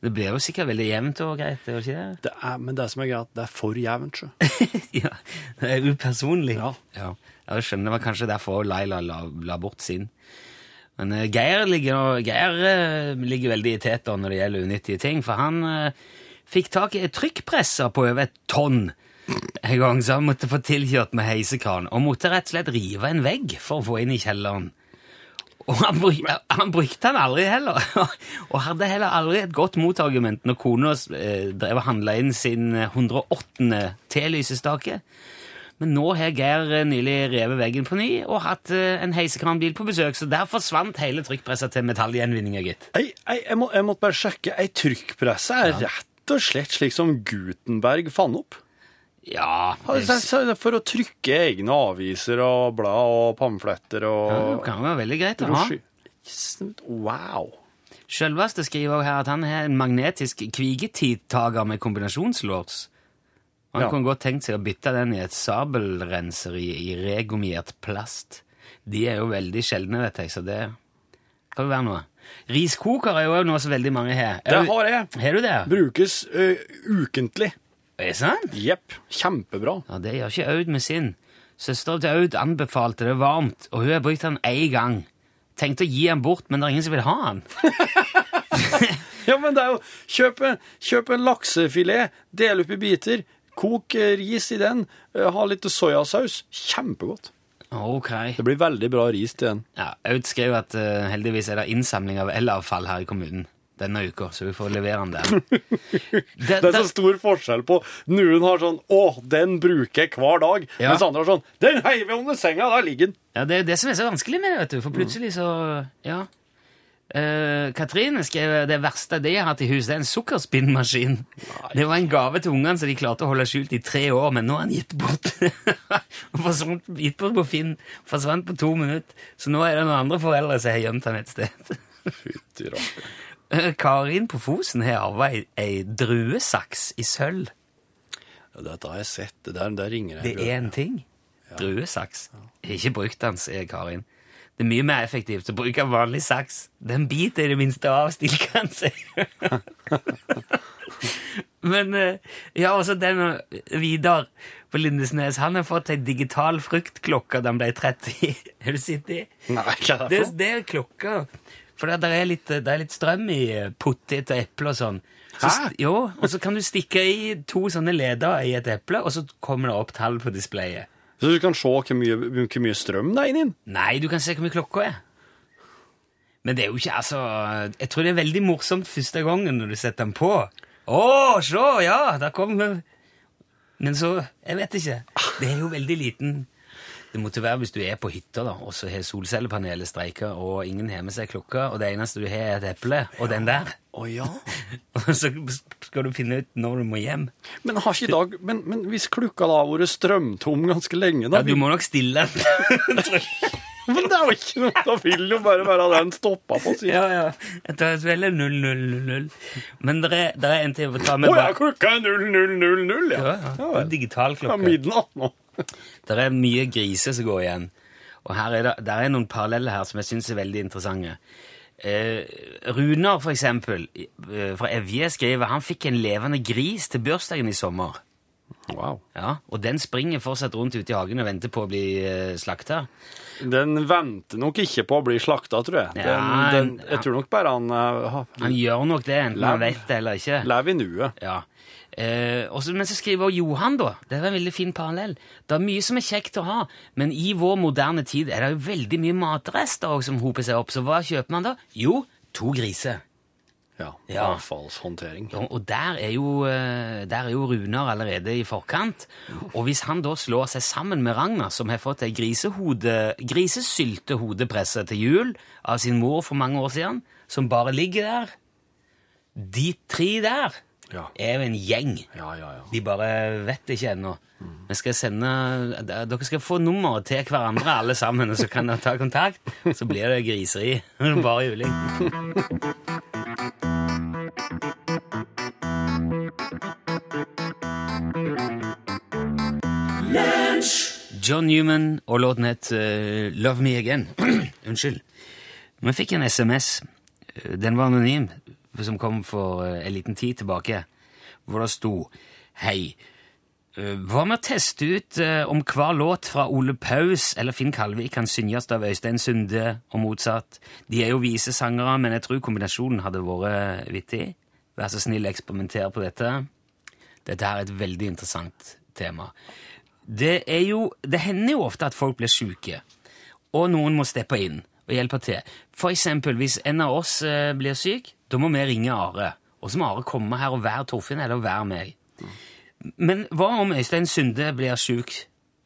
[SPEAKER 2] Det blir jo sikkert veldig jevnt og greit, det er jo ikke det?
[SPEAKER 1] Det er, men det som er greit, det er for jevnt, sjø.
[SPEAKER 2] ja, det er upersonlig.
[SPEAKER 1] Ja.
[SPEAKER 2] ja. Jeg skjønner det var kanskje derfor Laila la, la bort sin. Men eh, Geir, ligger, Geir eh, ligger veldig i teta når det gjelder unyttige ting, for han eh, fikk tak i et trykkpresser på over et tonn en gang, så han måtte få tilkjørt med heisekran, og måtte rett og slett rive en vegg for å få inn i kjelleren. Og han, bruk, han brukte han aldri heller, og hadde heller aldri et godt motargument når kona eh, drev og handla inn sin eh, 108. T-lysestake. Men nå har Geir eh, nylig revet veggen på ny og hatt eh, en heisekranbil på besøk, så der forsvant hele trykkpresset til metallgjenvinninga, gitt.
[SPEAKER 1] Ei, ei, jeg, må, jeg måtte bare sjekke. Ei trykkpresse er rett og slett slik som Gutenberg fant opp.
[SPEAKER 2] Ja,
[SPEAKER 1] Ja,
[SPEAKER 2] det
[SPEAKER 1] det er For å trykke egne aviser og blad og pamfletter og
[SPEAKER 2] kan være veldig greit å ha.
[SPEAKER 1] brosjy- Wow.
[SPEAKER 2] Sjølveste skriver også her at han har en magnetisk kvigetidtager med kombinasjonslås. Han
[SPEAKER 1] Ja.
[SPEAKER 2] kunne godt tenkt seg å bytte den i et sabelrenseri i regummert plast. De er jo veldig sjeldne, vet jeg, så det kan jo være noe. Riskoker er jo også noe som veldig mange har.
[SPEAKER 1] Det har jeg.
[SPEAKER 2] Har du det?
[SPEAKER 1] Brukes ø, ukentlig.
[SPEAKER 2] Er det sant?
[SPEAKER 1] Jepp. Kjempebra.
[SPEAKER 2] Ja, det gjør ikke Aud med sin. Søstera til Aud anbefalte det varmt, og hun har brukt den én gang. Tenkte å gi den bort, men det er ingen som vil ha den.
[SPEAKER 1] Ja, men det er jo Kjøp, en- kjøp en laksefilet, del opp i biter, kok eh, ris i den, eh, ha litt soyasaus. Kjempegodt.
[SPEAKER 2] Ok.
[SPEAKER 1] Det blir veldig bra ris til den.
[SPEAKER 2] Ja, Aud skrev at eh, heldigvis er det innsamling av elavfall her i kommunen denne uka, så vi får levere den der. Det,
[SPEAKER 1] Det er
[SPEAKER 2] det,
[SPEAKER 1] så stor forskjell på Noen har sånn 'Å, den bruker jeg hver dag',
[SPEAKER 2] Ja.
[SPEAKER 1] mens andre har sånn 'Den heiver jeg under senga, der ligger den'.
[SPEAKER 2] ja, det er jo det som er så vanskelig med det, vet du,
[SPEAKER 1] Mm.
[SPEAKER 2] for plutselig så Ja. Eh, Katrine skrev det verste de har hatt i hus, det er en sukkerspinnmaskin. Det var en gave til ungene som de klarte å holde skjult i tre år, men nå er den gitt bort. Og forsvant, gitt bort på Finn. Forsvant på to minutter. Så nå er det noen andre foreldre som har gjemt den et sted.
[SPEAKER 1] Fytti rakker.
[SPEAKER 2] Eh, Karin på Fosen har arva ei, ei druesaks i sølv.
[SPEAKER 1] Ja, Dette har jeg sett. Det der, der ringer
[SPEAKER 2] Det
[SPEAKER 1] jeg.
[SPEAKER 2] er en ting. Druesaks. Ikke bruk den, sier Karin. Det er mye mer effektivt å bruke vanlig saks. Den biter i det minste av stilkanser. Men eh, ja, også den eh, Vidar på Lindesnes. Han har fått ei digital fruktklokke da han ble 30. Har du sett det?
[SPEAKER 1] Nei, hva er
[SPEAKER 2] Det,
[SPEAKER 1] det for noe?
[SPEAKER 2] det er klokka. For det, der er litt, det er litt strøm i eh, potet og eple og sånn. Så,
[SPEAKER 1] Hæ?
[SPEAKER 2] st- Jo, og så kan du stikke i to sånne leder i et eple, og så kommer det opp tall på displayet.
[SPEAKER 1] Så du kan se hvor mye, hvor mye strøm det er inni den?
[SPEAKER 2] Nei, du kan se hvor mye klokka er. Men det er jo ikke, altså Jeg tror det er veldig morsomt første gangen når du setter den på. Å, se! Ja, der kom hun. Men så Jeg vet ikke. Det er jo veldig liten. Det måtte være hvis du er på hytta, da, og så har solcellepanelet streika, og ingen har med seg klokka, og det eneste du har, er et eple, og den der.
[SPEAKER 1] Å ja.
[SPEAKER 2] Og så skal du finne ut når du må hjem.
[SPEAKER 1] Men, har ikke i dag, men, men hvis klokka da har vært strømtom ganske lenge da,
[SPEAKER 2] Ja, du må nok stille den.
[SPEAKER 1] Men det er jo ikke noe, da vil jo bare være den stoppa på siden.
[SPEAKER 2] Ja, ja. Jeg tar et veldig 0-0-0-0. Men det er, der er en til å ta
[SPEAKER 1] Å
[SPEAKER 2] med.
[SPEAKER 1] ja,
[SPEAKER 2] bak-
[SPEAKER 1] klokka er 0000, ja.
[SPEAKER 2] Ja, ja.
[SPEAKER 1] vel.
[SPEAKER 2] En Digital
[SPEAKER 1] Det er
[SPEAKER 2] klokke.
[SPEAKER 1] midnatt nå.
[SPEAKER 2] Der er mye griser som går igjen. Og her er det, der er noen paralleller her som jeg syns er veldig interessante. Eh, Runar, for eksempel, i- eh, fra Evje, skriver han fikk en levende gris til bursdagen i sommer.
[SPEAKER 1] Wow.
[SPEAKER 2] Ja, Og den springer fortsatt rundt ute i hagen og venter på å bli eh, slakta.
[SPEAKER 1] Den venter nok ikke på å bli slakta, tror jeg. Den,
[SPEAKER 2] Ja,
[SPEAKER 1] den,
[SPEAKER 2] en-
[SPEAKER 1] jeg tror nok bare han eh, ha-
[SPEAKER 2] Han gjør nok det, enten han
[SPEAKER 1] Lav.
[SPEAKER 2] vet det eller ikke.
[SPEAKER 1] lever i nuet.
[SPEAKER 2] Ja. Eh, også, men så skriver også Johan, da. Det er en veldig fin parallell. Det er mye som er kjekt å ha, men i vår moderne tid er det jo veldig mye matrester også som hoper seg opp. Så hva kjøper man da? Jo, to griser.
[SPEAKER 1] Ja,
[SPEAKER 2] Ja.
[SPEAKER 1] Avfallshåndtering.
[SPEAKER 2] Og og der er, jo, eh, der er jo Runar allerede i forkant. Og hvis han da slår seg sammen med Ragnar, som har fått ei grisehode, grisesyltehodepresse til jul av sin mor for mange år siden, som bare ligger der De tre der
[SPEAKER 1] Ja.
[SPEAKER 2] er jo en gjeng.
[SPEAKER 1] Ja, ja, ja.
[SPEAKER 2] De bare vet det ikke ennå. Vi skal sende, d- dere skal få nummeret til hverandre, alle sammen, og så kan dere ta kontakt. Så blir det griseri. Bare juling. John Newman og låten het eh, Love Me Again. Unnskyld. Vi fikk en SMS. eh, Den var anonym, som kom for eh, en liten tid tilbake, hvor det sto Hei. eh, Hva med å teste ut eh, om hver låt fra Ole Paus eller Finn Kalvik kan synges av Øystein Sunde, og motsatt? De er jo visesangere, men jeg tror kombinasjonen hadde vært eh, vittig. Vær så snill, eksperimenter på dette. Dette her er et veldig interessant tema. Det, er jo, det hender jo ofte at folk blir syke, og noen må steppe inn og hjelpe til. For eksempel, hvis en av oss eh, blir syk, da må vi ringe Are. Og så må Are komme her og være Torfinn eller være meg. Men hva om Øystein Sunde blir syk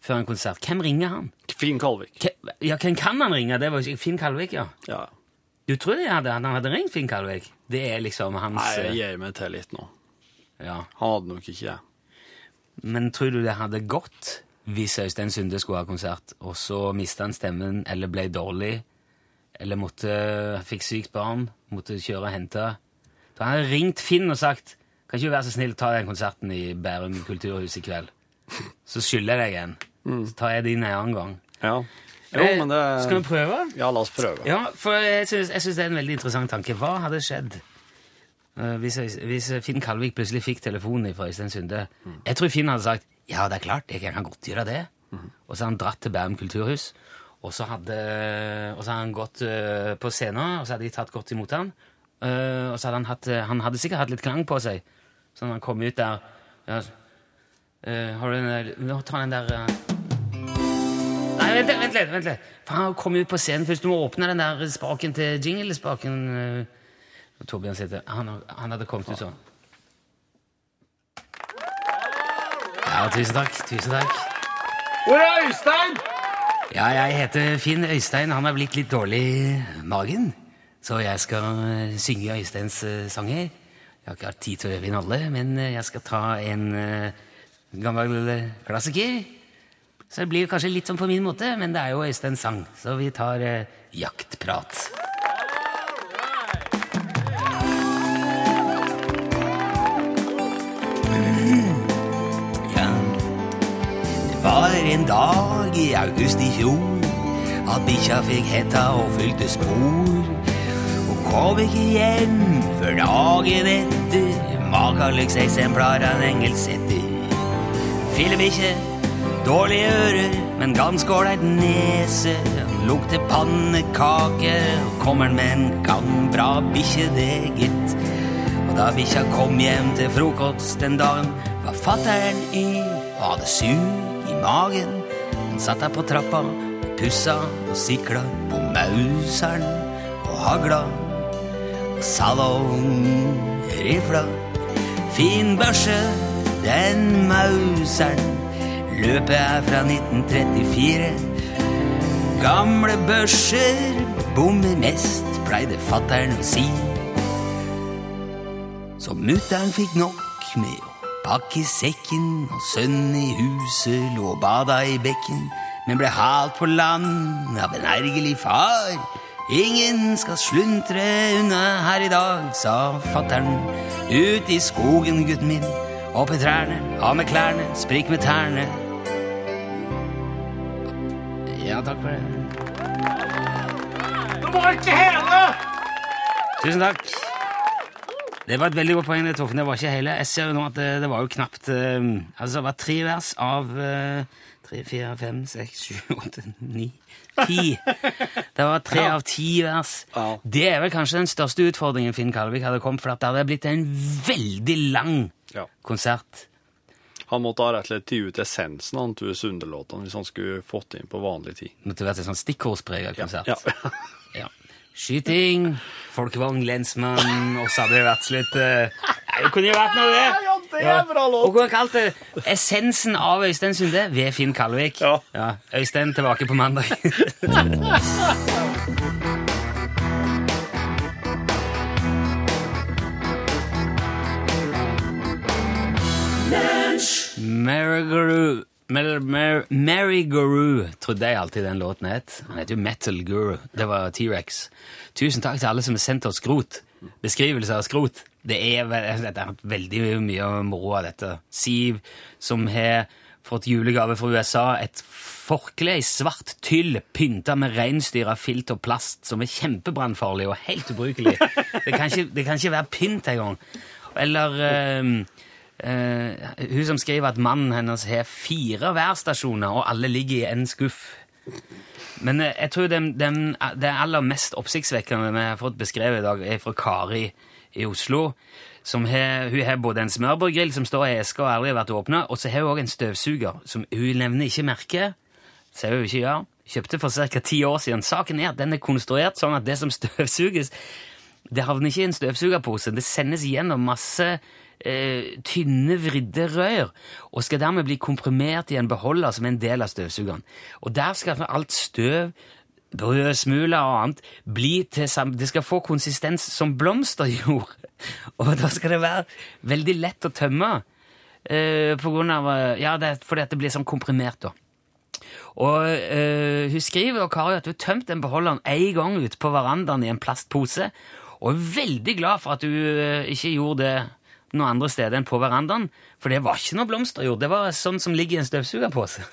[SPEAKER 2] før en konsert? Hvem ringer han?
[SPEAKER 1] Finn Kalvik.
[SPEAKER 2] Hvem, ja, hvem kan han ringe? Det var jo ikke- Finn Kalvik, ja.
[SPEAKER 1] Ja.
[SPEAKER 2] Du tror det hadde, han hadde ringt Finn Kalvik? Det er liksom hans
[SPEAKER 1] Nei, jeg
[SPEAKER 2] eh,
[SPEAKER 1] gir meg til litt nå.
[SPEAKER 2] ja.
[SPEAKER 1] Han hadde nok ikke jeg.
[SPEAKER 2] Men tror du det hadde gått hvis Øystein Sunde skulle ha konsert, og så mista han stemmen eller ble dårlig, eller måtte, fikk sykt barn, måtte kjøre og hente? Da hadde han ringt Finn og sagt kan ikke du være så snill å ta den konserten i Bærum kulturhus i kveld. Så skylder jeg deg en. Så tar jeg din en annen gang.
[SPEAKER 1] Ja. Jo,
[SPEAKER 2] Eh,
[SPEAKER 1] men det
[SPEAKER 2] Skal vi prøve?
[SPEAKER 1] Ja, la oss prøve.
[SPEAKER 2] Ja, for jeg syns, jeg synes det er en veldig interessant tanke. Hva hadde skjedd eh, hvis, jeg- hvis Finn Kalvik plutselig fikk telefonen fra Øystein Sunde?
[SPEAKER 1] Mm.
[SPEAKER 2] Jeg tror Finn hadde sagt ja, det er klart, jeg kan godt gjøre det.
[SPEAKER 1] Mm.
[SPEAKER 2] Og så hadde han dratt til Bærum kulturhus, og så hadde, og så hadde han gått eh, på scenen, og så hadde de tatt godt imot han. Eh, og så hadde han hatt eh, Han hadde sikkert hatt litt klang på seg, så når han kom ut der ja, eh, Har du den der Nå tar den der eh, Nei, vent litt, vent litt. vent litt. Faen, kom ut på scenen først. Du må åpne den der spaken til jingle-spaken. eh, Torbjørn sitter. Han, han hadde kommet ut sånn. Ja, tusen takk. Tusen takk.
[SPEAKER 1] Hvor er Øystein?
[SPEAKER 2] Ja, jeg heter Finn Øystein. Han er blitt litt dårlig i magen. Så jeg skal eh, synge Øysteins eh, sanger. Jeg har ikke hatt tid til å øve inn alle, men eh, jeg skal ta en eh, gammel eh, klassiker. Så det blir kanskje litt sånn på min måte, men det er jo Øysteins sang. Så vi tar eh, jaktprat. Ja. Det var en dag i august i fjor at bikkja fikk hetta og fylte spor. Hun kom ikke hjem før dagen etter. Makaløks eksemplar av en engelsetter. Fillebikkje, dårlige ører, men ganske ålreit nese. Han Lukter pannekake, og kommer med en gang bra bikkje, det gitt. Og da bikkja kom hjem til frokost den dagen, var fatter'n yr og hadde sug i magen. Han satt der på trappa, pussa og sikla på mauseren og hagla. Og salong rifla. Fin børse, den mauseren. Løpet er fra 1934. Gamle børser bommer mest, pleide fatter'n å si. Så mutter'n fikk nok med å pakke sekken, og sønnen i huset lå og bada i bekken, men ble halt på land av en ergerlig far. Ingen skal sluntre unna her i dag, sa fatter'n. Ut i skogen, gutten min. Opp i trærne, av med klærne, sprik med tærne. Ja, takk for det. Tusen takk. Det var et veldig godt poeng, det, Torfinn. Det var ikke hele. Jeg ser jo nå at det, det var jo knapt eh, Altså, det var tre vers av eh, tre, fire, fem, seks, sju, åtte, ni, ti. Det var tre av ti vers.
[SPEAKER 1] Ja.
[SPEAKER 2] Det er vel kanskje den største utfordringen Finn Kalvik hadde kommet, for at det hadde blitt en veldig lang
[SPEAKER 1] Ja.
[SPEAKER 2] konsert.
[SPEAKER 1] Han måtte ha rett og slett tatt ut essensen av Tue Sunde-låtene hvis han skulle fått det inn på vanlig tid.
[SPEAKER 2] Det måtte vært en sånn stikkordspreget konsert.
[SPEAKER 1] Ja.
[SPEAKER 2] Ja. Skyting, folkevogn, lensmann, og så hadde det vært slutt. eh, Nei, det kunne jo vært noe, det.
[SPEAKER 1] Ja, det er bra låt.
[SPEAKER 2] Og hva kalte det? Essensen av Øystein Sunde ved Finn Kalvik.
[SPEAKER 1] Ja.
[SPEAKER 2] Øystein tilbake på mandag. Mariguru Mar Mar Mary Guru trodde jeg alltid den låten het. Han heter jo Metal Guru. Det var T-rex. Tusen takk til alle som har sendt oss skrot. Beskrivelser av skrot. Det er, ve- det er veldig mye moro av dette. Siv, som har fått julegave fra USA, et forkle i svart tyll pynta med reinsdyra filt og plast, som er kjempebrannfarlig og helt ubrukelig. Det kan ikke, det kan ikke være pynt engang. Eller eh, Eh, hun som skriver at mannen hennes har fire værstasjoner, og alle ligger i en skuff. Men eh, jeg tror den, den, det aller mest oppsiktsvekkende vi har fått beskrevet i dag, er fra Kari i Oslo. Som har, hun har både en smørbrødgrill som står i eska og aldri har vært åpna, og så har hun òg en støvsuger som hun nevner ikke merket. Sier hun ikke ja. Kjøpte for ca. ti år siden. Saken er at den er konstruert sånn at det som støvsuges, det havner ikke i en støvsugerpose. Det sendes gjennom masse eh, tynne, vridde rør, og skal dermed bli komprimert i en beholder som er en del av støvsugeren. Og der skal alt støv, brød, smuler og annet bli til sam... Det skal få konsistens som blomsterjord. Og da skal det være veldig lett å tømme. eh, på grunn av eh, Ja, det, er fordi at det blir sånn komprimert, da. Og eh, hun skriver og Kari at hun tømte den beholderen en gang ut på verandaen i en plastpose, og er veldig glad for at hun eh, ikke gjorde det noe andre steder enn på verandaen, for det var ikke noe blomsterjord, det var sånn som ligger i en støvsugerpose.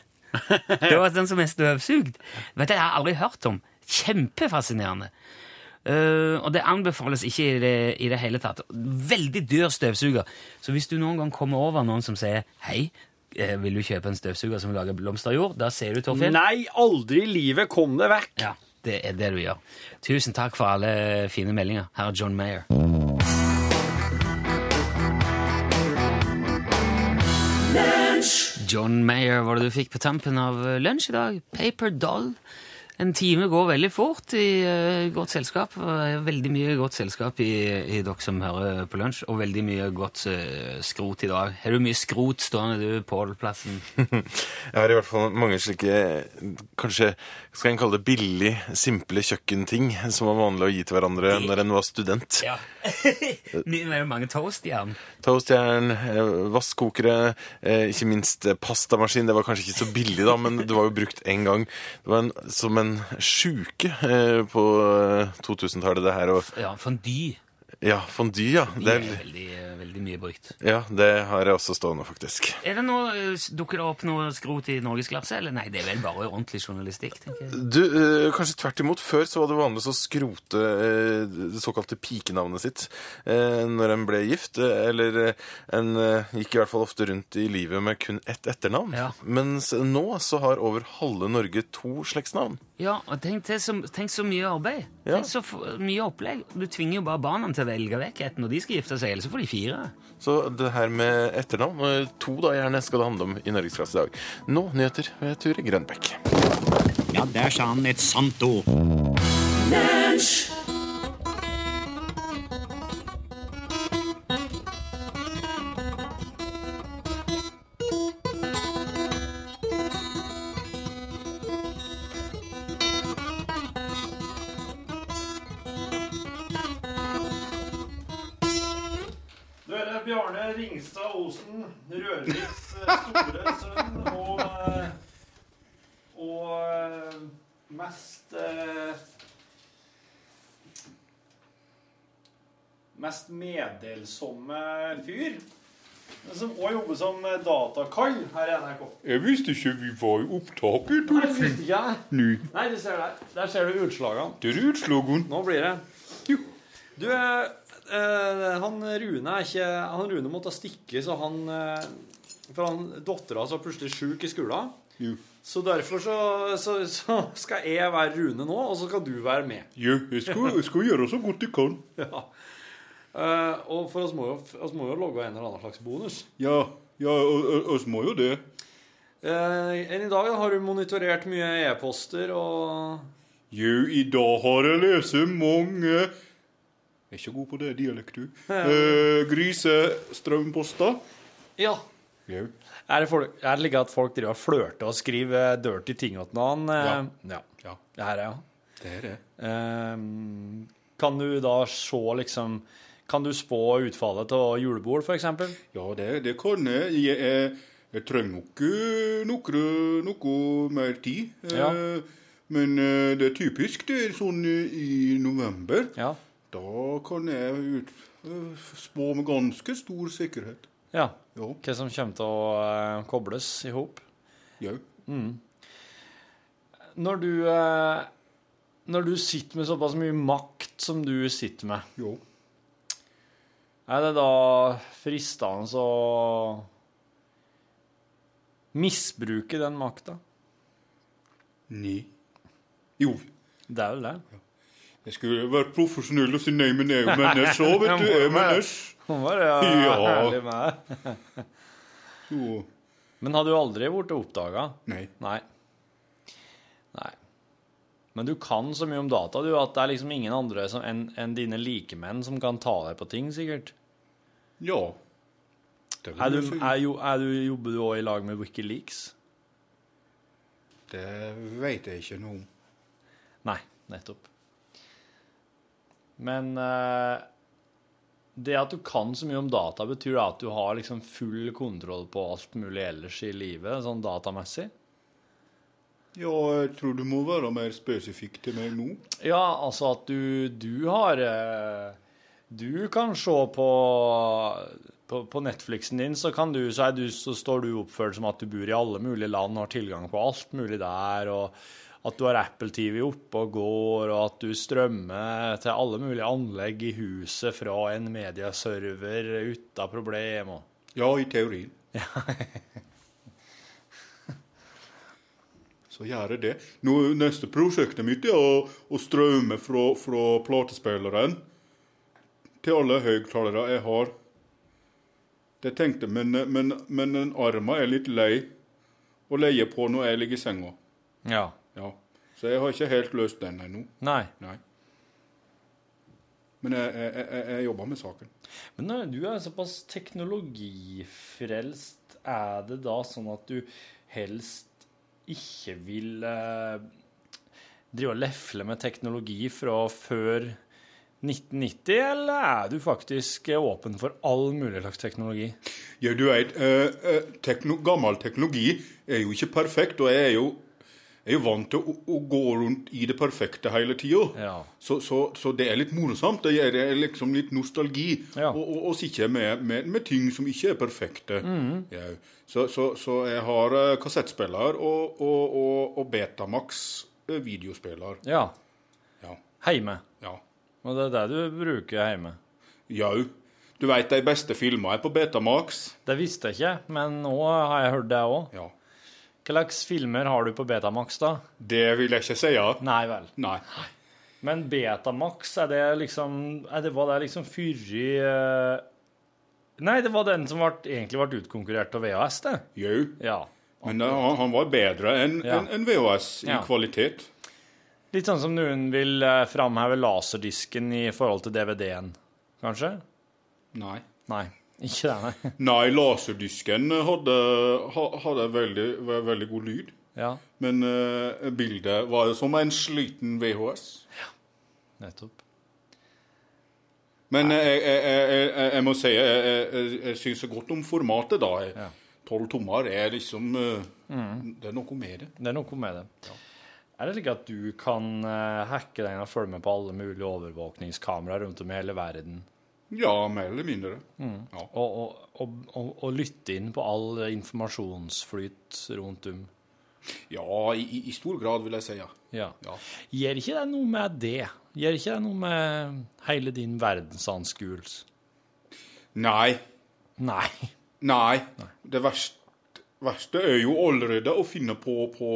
[SPEAKER 2] Det var sånn som er støvsugd. Vet du, jeg har aldri hørt om. Kjempefascinerende. Eh, og det anbefales ikke i det, i det hele tatt. Veldig dyr støvsuger. Så hvis du noen gang kommer over noen som sier 'hei, eh, vil du kjøpe en støvsuger som lager blomsterjord', da ser du Torfinn.
[SPEAKER 1] Nei, aldri i livet kom det vekk.
[SPEAKER 2] Ja, det er det du gjør. Tusen takk for alle fine meldinger. Her er John Mayer. John Mayer var det du fikk på tampen av eh, lunsj i dag. Paper Doll. En time går veldig fort i eh, godt selskap. og det er Veldig mye godt selskap i, i dere som hører på lunsj, og veldig mye godt eh, skrot i dag. Har du mye skrot stående, du, Pål Plassen?
[SPEAKER 4] Jeg har i hvert fall mange slike kanskje skal en kalle det billig, simple kjøkkenting som var vanlig å gi til hverandre når en var student.
[SPEAKER 2] Ja. mye mer mange toastjern.
[SPEAKER 4] Toastjern, eh, vaskkokere, eh, ikke minst eh, pastamaskin. Det var kanskje ikke så billig, da, men det var jo brukt én gang. Det var en, som en sjuke eh, på eh, 2000-tallet, det her. Og,
[SPEAKER 2] Ja, fondy.
[SPEAKER 4] ja, fondue, ja.
[SPEAKER 2] Det
[SPEAKER 4] Det,
[SPEAKER 2] er
[SPEAKER 4] er-
[SPEAKER 2] veldig, eh, veldig mye brukt.
[SPEAKER 4] ja. det har jeg også stående, faktisk.
[SPEAKER 2] Er det noe, eh, dukker det opp noe skrot i norgesklasse, eller? Nei, det er vel bare ordentlig journalistikk, tenker jeg.
[SPEAKER 4] Du, eh, Kanskje tvert imot. Før så var det vanlig å skrote eh, det såkalte pikenavnet sitt eh, når en ble gift. eh, Eller eh, en eh, gikk i hvert fall ofte rundt i livet med kun ett etternavn.
[SPEAKER 2] Ja.
[SPEAKER 4] Mens nå så har over halve Norge to slektsnavn.
[SPEAKER 2] Ja, og tenk, det som, tenk så mye arbeid.
[SPEAKER 4] Ja.
[SPEAKER 2] Tenk så f- mye opplegg. Du tvinger jo bare barna til å velge vekk et når de skal gifte seg, ellers så får de fire.
[SPEAKER 4] Så det her med etternavn, eh, to da gjerne, skal det handle om i Norgesklasse i dag. Nå nyheter ved Ture Grønbekk.
[SPEAKER 5] Ja, der sa han et sant ord.
[SPEAKER 1] Du er det Bjarne Ringstad Osen, Rørviks eh, store sønn og eh, Og eh, mest eh, Mest meddelsomme fyr. Som òg jobber som datakall her i NRK.
[SPEAKER 6] Jeg visste ikke vi var i opptaket.
[SPEAKER 1] Nei, det visste ikke jeg. Nei, du ser der. Der ser du utslagene.
[SPEAKER 6] Det er utslagen.
[SPEAKER 1] Nå blir det. Du, eh, eh, han Rune er ikke Han Rune måtte stikke, så han eh, For han dattera så plutselig sjuk i skolen.
[SPEAKER 6] Ja.
[SPEAKER 1] Så derfor så, så, så skal jeg være Rune nå, og så skal du være med.
[SPEAKER 6] Ja, jeg skal, jeg skal gjøre så godt jeg kan.
[SPEAKER 1] Ja. Eh, og for oss må jo, oss må jo logge en eller annen slags bonus.
[SPEAKER 6] Ja, ja, og- og- oss må jo det.
[SPEAKER 1] Eh, enn i dag har du monitorert mye e-poster og
[SPEAKER 6] Jo, i dag har jeg lest mange Jeg er ikke god på det dialekt, du. Eh, Grisestrømposter.
[SPEAKER 7] Ja.
[SPEAKER 6] Jo.
[SPEAKER 7] Er det, folk, er det like at folk driver og flørter og skriver eh, dirty ting åt noen?
[SPEAKER 6] Ja.
[SPEAKER 7] annen?
[SPEAKER 6] ja. ja.
[SPEAKER 7] Det her, ja.
[SPEAKER 6] Det er det.
[SPEAKER 7] Ehm, kan du da se liksom Kan du spå utfallet av julebord, f.eks.?
[SPEAKER 6] Ja, det, det kan jeg. Jeg, jeg, jeg trenger nok eh, nokre, noe mer tid. Eh,
[SPEAKER 7] Ja.
[SPEAKER 6] Men eh, det er typisk det er sånn eh, i november.
[SPEAKER 7] Ja.
[SPEAKER 6] Da kan jeg ut, eh, spå med ganske stor sikkerhet.
[SPEAKER 7] ja.
[SPEAKER 6] Ja.
[SPEAKER 7] Hva som kommer til å eh, kobles i hop?
[SPEAKER 6] ja.
[SPEAKER 7] Når du eh, Når du sitter med såpass mye makt som du sitter med,
[SPEAKER 6] ja.
[SPEAKER 7] er det da fristende å misbruke den makta?
[SPEAKER 6] Nei. Jo.
[SPEAKER 7] Det er jo det.
[SPEAKER 6] Jeg skulle vært profesjonell og si nei, men jeg er jo menneske òg, vet du. Jeg er menneske.
[SPEAKER 7] Hun var ja,
[SPEAKER 6] Ja.
[SPEAKER 7] ærlig med deg.
[SPEAKER 6] Så
[SPEAKER 7] Men hadde jo aldri blitt oppdaga.
[SPEAKER 6] nei.
[SPEAKER 7] Nei. Nei. Men du kan så mye om data, du, at det er liksom ingen andre som- enn enn dine likemenn som kan ta deg på ting, sikkert.
[SPEAKER 6] Ja. Det vil
[SPEAKER 7] Er du,
[SPEAKER 6] jeg si.
[SPEAKER 7] er jo, er du, jobber du òg i lag med Wikileaks?
[SPEAKER 6] Det veit jeg ikke noe om.
[SPEAKER 7] Nei, nettopp. Men eh, det at du kan så mye om data, betyr det at du har liksom full kontroll på alt mulig ellers i livet, sånn datamessig?
[SPEAKER 6] Ja, jeg tror du må være mer spesifikk til meg nå.
[SPEAKER 7] Ja, altså at du, du har eh, Du kan se på, på På Netflixen din, så, kan du, så, er du, så står du oppført som at du bor i alle mulige land, har tilgang på alt mulig der, og at du har Apple TV oppe og går, og at du strømmer til alle mulige anlegg i huset fra en medieserver uten problem. Og.
[SPEAKER 6] Ja, i teorien. Så gjør jeg det. Nå, neste prosjektet mitt er å, å strømme fra, fra platespilleren til alle høyttalere jeg har. Det tenkte jeg, men, men, men den armen er litt lei å leie på når jeg ligger i senga.
[SPEAKER 7] Ja.
[SPEAKER 6] Ja. Så jeg har ikke helt løst den ennå.
[SPEAKER 7] Nei.
[SPEAKER 6] Nei. Men jeg, jeg, jeg- jeg, jeg jobber med saken.
[SPEAKER 7] Men når du er såpass teknologifrelst, er det da sånn at du helst ikke vil eh, drive og lefle med teknologi fra før 1990, eller er du faktisk eh, åpen for all mulig slags teknologi?
[SPEAKER 6] Ja, du vet, eh, eh, tekno, gammel teknologi er jo ikke perfekt, og jeg er jo, jeg er jo vant til å, å gå rundt i det perfekte hele tida.
[SPEAKER 7] Ja.
[SPEAKER 6] Så, så, så det er litt morsomt. Det er det er liksom litt nostalgi
[SPEAKER 7] Ja.
[SPEAKER 6] å å- å sitte med, med, med ting som ikke er perfekte.
[SPEAKER 7] Mhm.
[SPEAKER 6] Ja. Så, så, så jeg har eh, kassettspiller og, og, og, og Betamax eh, videospiller.
[SPEAKER 7] Ja.
[SPEAKER 6] Ja.
[SPEAKER 7] Heime.
[SPEAKER 6] Ja.
[SPEAKER 7] Og det er det du bruker heime.
[SPEAKER 6] Jau. Du veit de beste filmene er på Betamax.
[SPEAKER 7] Det visste jeg ikke, men nå har jeg hørt det òg.
[SPEAKER 6] Ja.
[SPEAKER 7] Hva slags filmer har du på Betamax, da?
[SPEAKER 6] Det vil jeg ikke si. Ja.
[SPEAKER 7] Nei vel.
[SPEAKER 6] Nei.
[SPEAKER 7] Men Betamax, er det liksom er det, Var det liksom fyrig eh, Nei, det var den som vart, egentlig ble utkonkurrert av VHS, det.
[SPEAKER 6] Jau.
[SPEAKER 7] Ja.
[SPEAKER 6] Men eh, han, han var bedre enn
[SPEAKER 7] Ja.
[SPEAKER 6] enn- enn VHS i
[SPEAKER 7] Ja.
[SPEAKER 6] kvalitet.
[SPEAKER 7] Litt sånn som noen vil eh, framheve laserdisken i forhold til DVD-en, kanskje?
[SPEAKER 6] Nei.
[SPEAKER 7] Nei. Ikke det, nei.
[SPEAKER 6] Nei, laserdisken hadde, ha- hadde veldig, ve- veldig god lyd.
[SPEAKER 7] Ja,
[SPEAKER 6] Men eh, bildet var jo som en sliten VHS.
[SPEAKER 7] nettopp.
[SPEAKER 6] Men eh, jeg, jeg, jeg, jeg, jeg må si jeg, jeg, jeg, jeg syns så godt om formatet, da. Tolv tommer er liksom eh,
[SPEAKER 7] Mm.
[SPEAKER 6] Det er noe med det.
[SPEAKER 7] Det er noe med det. Er det slik at du kan eh, hacke deg inn og følge med på alle mulige overvåkningskameraer rundt om i hele verden?
[SPEAKER 6] Ja, mer eller mindre.
[SPEAKER 7] Mm.
[SPEAKER 6] Ja.
[SPEAKER 7] Og, og, og, og, og lytte inn på all informasjonsflyt rundt om?
[SPEAKER 6] ja i, i- i stor grad, vil jeg si. Ja.
[SPEAKER 7] Ja.
[SPEAKER 6] Ja.
[SPEAKER 7] Gjør ikke det noe med det? Gjør ikke det noe med hele din verdensanskuelse?
[SPEAKER 6] Nei.
[SPEAKER 7] Nei.
[SPEAKER 6] Nei. Det verste, verste er jo allerede å finne på på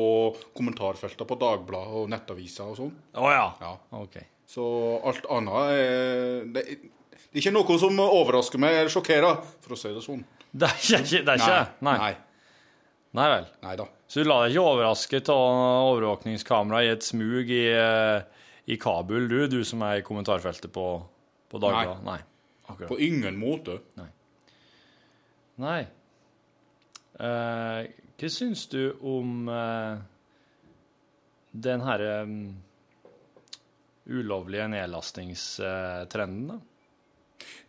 [SPEAKER 6] kommentarfeltene på Dagbladet og nettaviser og sånn.
[SPEAKER 7] Å ja.
[SPEAKER 6] Ja.
[SPEAKER 7] Ok.
[SPEAKER 6] Så alt annet er det, det er ikke noe som overrasker meg eller sjokkerer, for å si det sånn.
[SPEAKER 7] Det er ikke det? Er ikke, nei.
[SPEAKER 6] Nei.
[SPEAKER 7] Nei vel.
[SPEAKER 6] Nei da.
[SPEAKER 7] Så du la deg ikke overraske av overvåkningskamera i et smug i, eh, i Kabul, du, du som er i kommentarfeltet på, på Dagbladet? Nei.
[SPEAKER 6] På ingen måte.
[SPEAKER 7] Nei. Eh, hva syns du om eh, den herre mm, ulovlige nedlastingstrenden, da?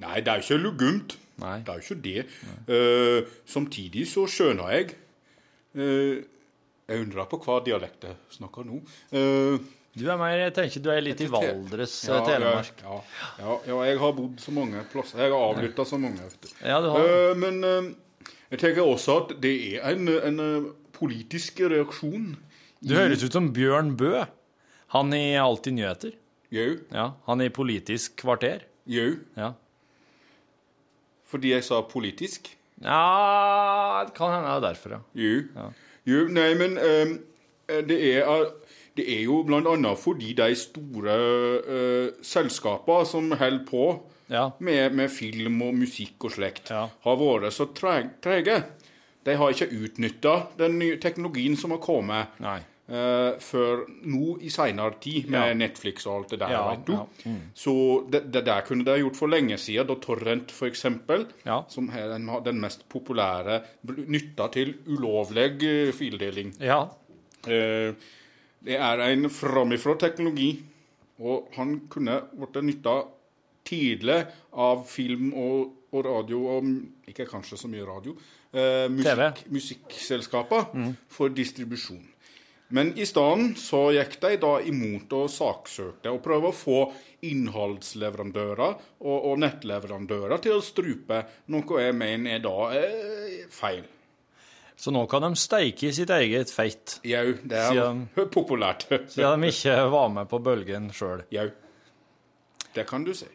[SPEAKER 6] Nei, det er jo ikke luggumt.
[SPEAKER 7] Nei.
[SPEAKER 6] Det er jo ikke det. Eh, samtidig så skjønner jeg eh, Jeg undrer på hva dialekt jeg snakker nå. Eh,
[SPEAKER 7] Du er mer, jeg tenker du er litt i Valdres, eh, Telemark.
[SPEAKER 6] Ja, ja, ja, jeg har bodd så mange plasser. Jeg har avlytta så mange. vet du.
[SPEAKER 7] Ja, du har det.
[SPEAKER 6] Eh, men eh, jeg tenker også at det er en, en eh, politisk reaksjon.
[SPEAKER 7] Du høres ut som Bjørn Bø. Han i Alltid nyheter.
[SPEAKER 6] Jau,
[SPEAKER 7] Ja, han i Politisk kvarter.
[SPEAKER 6] jau.
[SPEAKER 7] Ja.
[SPEAKER 6] Fordi jeg sa politisk.
[SPEAKER 7] ja det kan hende det er derfor, ja.
[SPEAKER 6] Jo. jo nei, men ehm, det, er, eh, det er jo blant annet fordi de store eh, selskapene som holder på
[SPEAKER 7] Ja.
[SPEAKER 6] med, med film og musikk og slekt,
[SPEAKER 7] Ja.
[SPEAKER 6] har vært så tre- trege. De har ikke utnytta den nye teknologien som har kommet
[SPEAKER 7] Nei.
[SPEAKER 6] eh, før nå i seinere tid, med Netflix og alt det der.
[SPEAKER 7] Ja,
[SPEAKER 6] vet du.
[SPEAKER 7] ja. Mm.
[SPEAKER 6] Så det, det der kunne de gjort for lenge siden, da Torrent f.eks.,
[SPEAKER 7] Ja.
[SPEAKER 6] som er den, den mest populære, bl- nytta til ulovlig eh, fildeling.
[SPEAKER 7] Ja.
[SPEAKER 6] Eh, det er en framifrå teknologi, og han kunne blitt nytta tidlig av film og, og radio og Ikke kanskje så mye radio. Eh, musikk, musikkselskaper for distribusjon. Men i stedet så gikk de da imot og saksøkte og prøvde å få innholdsleverandører og, og nettleverandører til å strupe, noe jeg mener er da eh, feil.
[SPEAKER 7] Så nå kan de steike i sitt eget feit,
[SPEAKER 6] Jau, det er
[SPEAKER 7] Siden-
[SPEAKER 6] populært.
[SPEAKER 7] siden de ikke var med på bølgen sjøl.
[SPEAKER 6] Jau. Det kan du si.